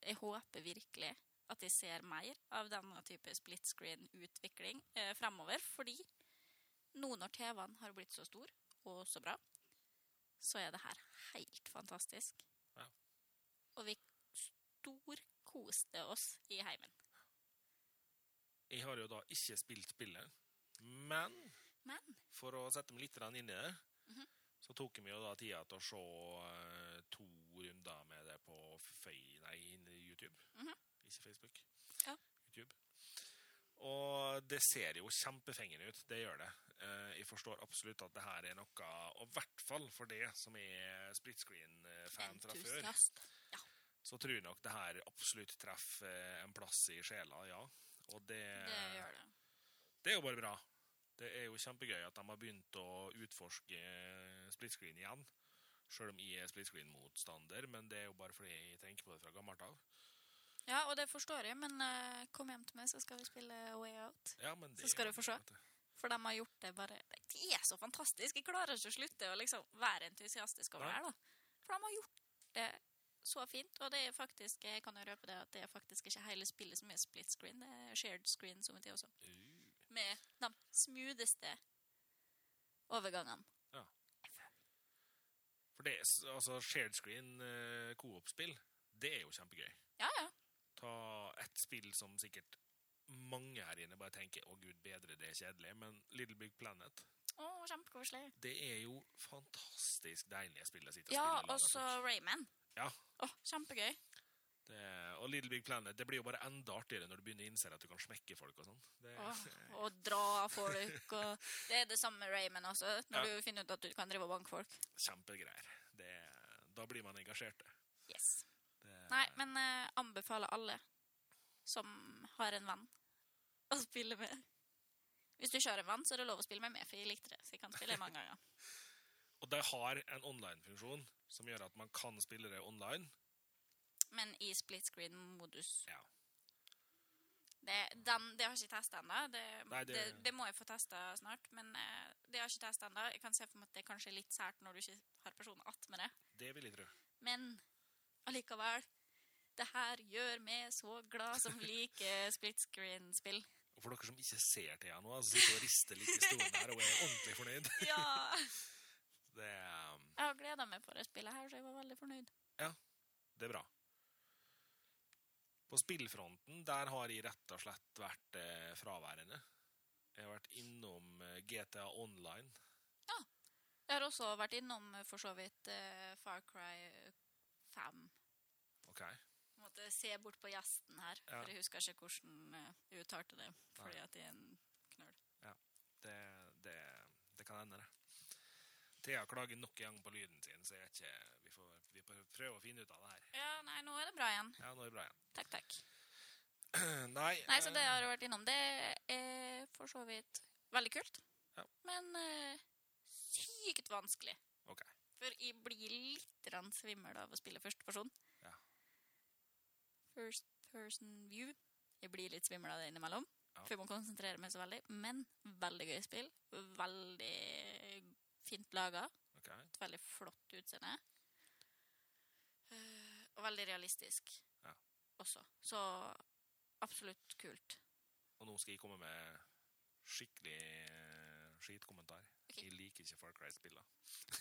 Speaker 2: Jeg håper virkelig at jeg ser mer av denne type split screen-utvikling eh, fremover, fordi nå når TV-en har blitt så stor og så bra, så er det her helt fantastisk.
Speaker 1: Ja.
Speaker 2: Og vi storkoste oss i heimen.
Speaker 1: Jeg har jo da ikke spilt spillet, men,
Speaker 2: Men?
Speaker 1: for å sette meg litt grann inn i det,
Speaker 2: Mhm.
Speaker 1: så tok jeg meg jo da tida til å se eh, to runder med det på Føy, nei, inn i YouTube.
Speaker 2: Mhm.
Speaker 1: Ikke Facebook.
Speaker 2: Ja.
Speaker 1: YouTube. Og det ser jo kjempefengende ut, det gjør det. Eh, jeg forstår absolutt at det her er noe, og i hvert fall for det som er split screen-fan fra før,
Speaker 2: Entusiast.
Speaker 1: så tror jeg nok det her absolutt treffer eh, en plass i sjela, ja. Og det,
Speaker 2: Det gjør det.
Speaker 1: det er jo bare bra. Det er jo kjempegøy at de har begynt å utforske eh, split screen igjen. Selv om jeg er split screen-motstander, men det er jo bare fordi jeg tenker på det fra gammelt av.
Speaker 2: Ja, og det forstår jeg, men eh, kom hjem til meg, så skal vi spille Way Out.
Speaker 1: Ja, men det
Speaker 2: Så skal du få se.
Speaker 1: vet du.
Speaker 2: For de har gjort det bare Det er så fantastisk! Jeg klarer ikke å slutte å liksom være entusiastisk over
Speaker 1: Nei.
Speaker 2: det her, da. For de har gjort det så fint, og det er faktisk Jeg kan jo røpe det at det er faktisk ikke hele spillet som er split screen, det er shared screen som det er også.
Speaker 1: Uh,
Speaker 2: Med de smootheste overgangene.
Speaker 1: For det, er s- altså, shared screen eh, co-op-spill, det er jo kjempegøy.
Speaker 2: Ja, ja.
Speaker 1: Ta et spill som sikkert mange her inne bare tenker 'Å gud, bedre det er kjedelig', men Little Big Planet
Speaker 2: Å, kjempekoselig.
Speaker 1: Det er jo fantastisk deilige spill å sitte og
Speaker 2: Ja,
Speaker 1: spille. i lag altså. med
Speaker 2: og så
Speaker 1: folk.
Speaker 2: Rayman.
Speaker 1: Ja.
Speaker 2: Å, kjempegøy.
Speaker 1: Det, Eh, og Little Big Planet det blir jo bare enda artigere når du begynner å innse at du kan smekke folk. og sånn. Det-
Speaker 2: Åh, og dra folk og Det er det samme med Rayman også, når du finner ut at du kan drive og banke folk.
Speaker 1: Kjempegreier. Det, da blir man engasjert.
Speaker 2: Yes.
Speaker 1: Det-
Speaker 2: Nei, men eh, anbefaler alle som har en venn, å spille med. Hvis du ikke har en venn, så er det lov å spille med meg, for jeg likte det. Så jeg kan spille mange ganger.
Speaker 1: Og det har en online-funksjon som gjør at man kan spille det online.
Speaker 2: Men i split screen-modus.
Speaker 1: Ja.
Speaker 2: Det, den, det har jeg ikke testa ennå. Det,
Speaker 1: Nei,
Speaker 2: det...
Speaker 1: det-
Speaker 2: Det, må jeg få testa snart. Men eh, det har jeg ikke testa ennå. Jeg kan se for meg at det er kanskje litt sært når du ikke har personen attmed det.
Speaker 1: Det vil jeg tro.
Speaker 2: Men allikevel Det her gjør meg så glad som liker split screen-spill.
Speaker 1: Og for dere som ikke ser Thea nå, altså sitter hun og rister litt i stolen her og er ordentlig fornøyd.
Speaker 2: Ja!
Speaker 1: Det, er- um,
Speaker 2: Jeg har gleda meg på det spillet her, så jeg var veldig fornøyd.
Speaker 1: det er bra. På spillfronten der har jeg rett og slett vært eh, fraværende. Jeg har vært innom eh, GTA Online.
Speaker 2: Jeg har også vært innom eh, for så vidt eh, Far Cry 5.
Speaker 1: Ok.
Speaker 2: Måtte se bort på gjesten her,
Speaker 1: Ja.
Speaker 2: for jeg husker ikke hvordan eh, jeg uttalte det. Fordi
Speaker 1: Nei.
Speaker 2: at jeg er en knøl.
Speaker 1: Det, det, det kan hende, det. Thea klager nok en gang på lyden sin, så jeg er ikke, vi, får, vi får prøve å finne ut av det her.
Speaker 2: Ja, nei, nå er det bra igjen.
Speaker 1: Ja, nå er det bra igjen.
Speaker 2: Takk, takk.
Speaker 1: Nei,
Speaker 2: Nei, så
Speaker 1: eh,
Speaker 2: det jeg har vært innom, det er for så vidt veldig kult.
Speaker 1: Ja.
Speaker 2: Men eh, sykt vanskelig.
Speaker 1: Ok.
Speaker 2: For jeg blir litt rann svimmel av å spille første person.
Speaker 1: Ja.
Speaker 2: First person view. Jeg blir litt svimmel av det innimellom.
Speaker 1: Ja.
Speaker 2: For jeg må konsentrere meg så veldig. Men veldig gøy spill. Veldig fint laga.
Speaker 1: eh, ok.
Speaker 2: Et veldig flott utseende. Eh, Og veldig realistisk
Speaker 1: Ja.
Speaker 2: også. Så absolutt kult.
Speaker 1: Og nå skal jeg komme med skikkelig eh, skitkommentar.
Speaker 2: Ok.
Speaker 1: Jeg liker ikke Far Cry-spillene.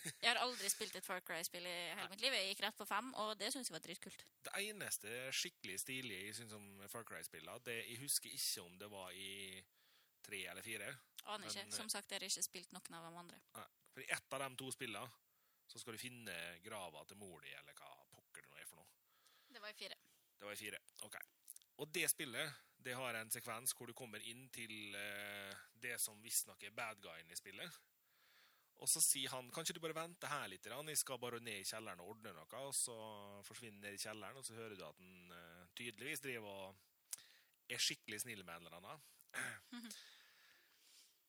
Speaker 2: Jeg har aldri spilt et Far Cry-spill i hele
Speaker 1: Nei.
Speaker 2: mitt liv. Jeg gikk rett på fem, og det syns jeg var dritkult.
Speaker 1: Det eneste skikkelig stilige jeg syns om Far Cry-spillene, det jeg husker ikke om det var i tre eller fire.
Speaker 2: Aner
Speaker 1: Men,
Speaker 2: ikke.
Speaker 1: eh,
Speaker 2: Som sagt, jeg har ikke spilt noen av de andre.
Speaker 1: For i ett av de to spillene så skal du finne grava til mor di, eller hva pokker det nå er for noe.
Speaker 2: Det var i fire.
Speaker 1: Det var i fire. Ok. Og det spillet det har en sekvens hvor du kommer inn til eh, det som visstnok er bad guyen i spillet. Og så sier han kan ikke du bare vente her litt, grann? jeg skal bare ned i kjelleren og ordne noe. Og så forsvinner han ned i kjelleren, og så hører du at han eh, tydeligvis driver og er skikkelig snill med en eller annen.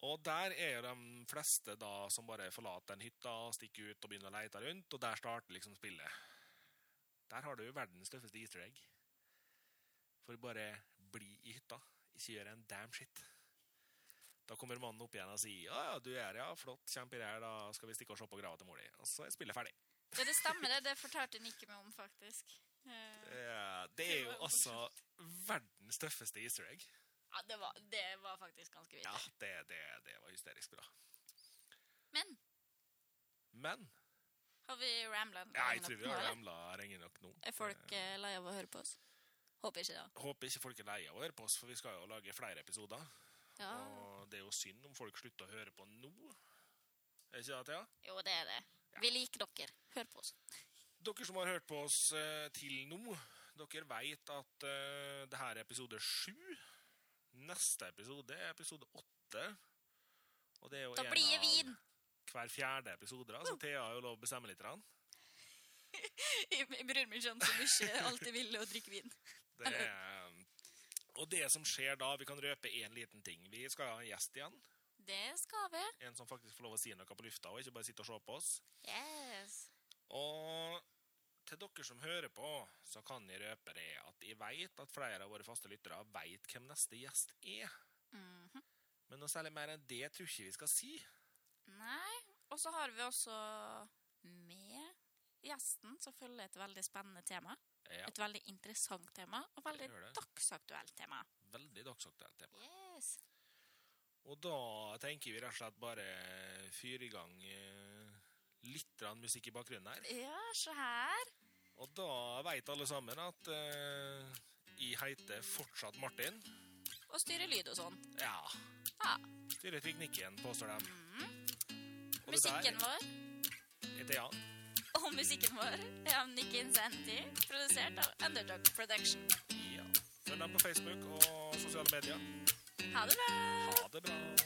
Speaker 1: Og der er jo de fleste da som bare forlater den hytta, stikker ut og begynner å lete rundt, og der starter liksom spillet. Der har du jo verdens tøffeste easter egg. For bare bli i hytta. Ikke gjør en damn shit. Da kommer mannen opp igjen og sier «Ja, ja, du er her, ja, flott, kjemper her, da skal vi stikke og se på grava til mor di. Og så er spillet ferdig.
Speaker 2: Ja, det stemmer, det. Det fortalte han ikke meg om, faktisk. Eh,
Speaker 1: Eh, Det er jo altså verdens tøffeste easter egg.
Speaker 2: Ja, det var, det var faktisk ganske vilt.
Speaker 1: Ja, det, det, det var hysterisk bra.
Speaker 2: Men
Speaker 1: Men
Speaker 2: har vi ramla
Speaker 1: ja, jeg tror vi har ramla lenge nok nå.
Speaker 2: Er folk eh, lei av å høre på oss? Håper ikke det.
Speaker 1: Håper ikke folk er lei av å høre på oss, for vi skal jo lage flere episoder.
Speaker 2: Ja.
Speaker 1: Og det er jo synd om folk slutter å høre på nå. Er ikke det, Thea?
Speaker 2: Jo, det er det.
Speaker 1: Ja.
Speaker 2: Vi liker dere. Hør på oss.
Speaker 1: Dere som har hørt på oss eh, til nå, dere vet at eh, det her er episode sju. Neste episode er episode åtte. Og det er jo
Speaker 2: Da
Speaker 1: en
Speaker 2: blir det
Speaker 1: av
Speaker 2: vin! Mm.
Speaker 1: hver fjerde episode, da, så Thea har jo lov å bestemme litt. grann.
Speaker 2: Jeg jeg bryr meg ikke om så mye. Alltid ville å drikke vin.
Speaker 1: Det er, og det som skjer da, vi kan røpe én liten ting. Vi skal ha en gjest igjen.
Speaker 2: Det skal vi.
Speaker 1: En som faktisk får lov å si noe på lufta, og ikke bare sitte og se på oss.
Speaker 2: Yes.
Speaker 1: Og til dere som hører på, så kan jeg røpe det at jeg vet at flere av våre faste lyttere vet hvem neste gjest er.
Speaker 2: Mhm.
Speaker 1: Men noe særlig mer enn det tror jeg ikke vi skal si.
Speaker 2: Nei. Og så har vi også med gjesten selvfølgelig et veldig spennende tema.
Speaker 1: Ja,
Speaker 2: Et veldig interessant tema, og veldig
Speaker 1: Det gjør det.
Speaker 2: dagsaktuelt tema.
Speaker 1: veldig dagsaktuelt tema.
Speaker 2: Yes.
Speaker 1: Og da tenker vi rett og slett bare fyre i gang eh, litt grann musikk i bakgrunnen her.
Speaker 2: Ja, se her.
Speaker 1: Og da veit alle sammen at eh, jeg heter fortsatt Martin.
Speaker 2: Og Og styre lyd og sånn.
Speaker 1: Ja.
Speaker 2: Ja.
Speaker 1: Styrer teknikken, påstår de. Og det
Speaker 2: Mm. Musikken vår
Speaker 1: der heter Jan.
Speaker 2: og musikken vår er av Nick Incenti, produsert av Underdog Production.
Speaker 1: Ja. Følg dem på Facebook og sosiale medier.
Speaker 2: Ha det bra!
Speaker 1: Ha det bra.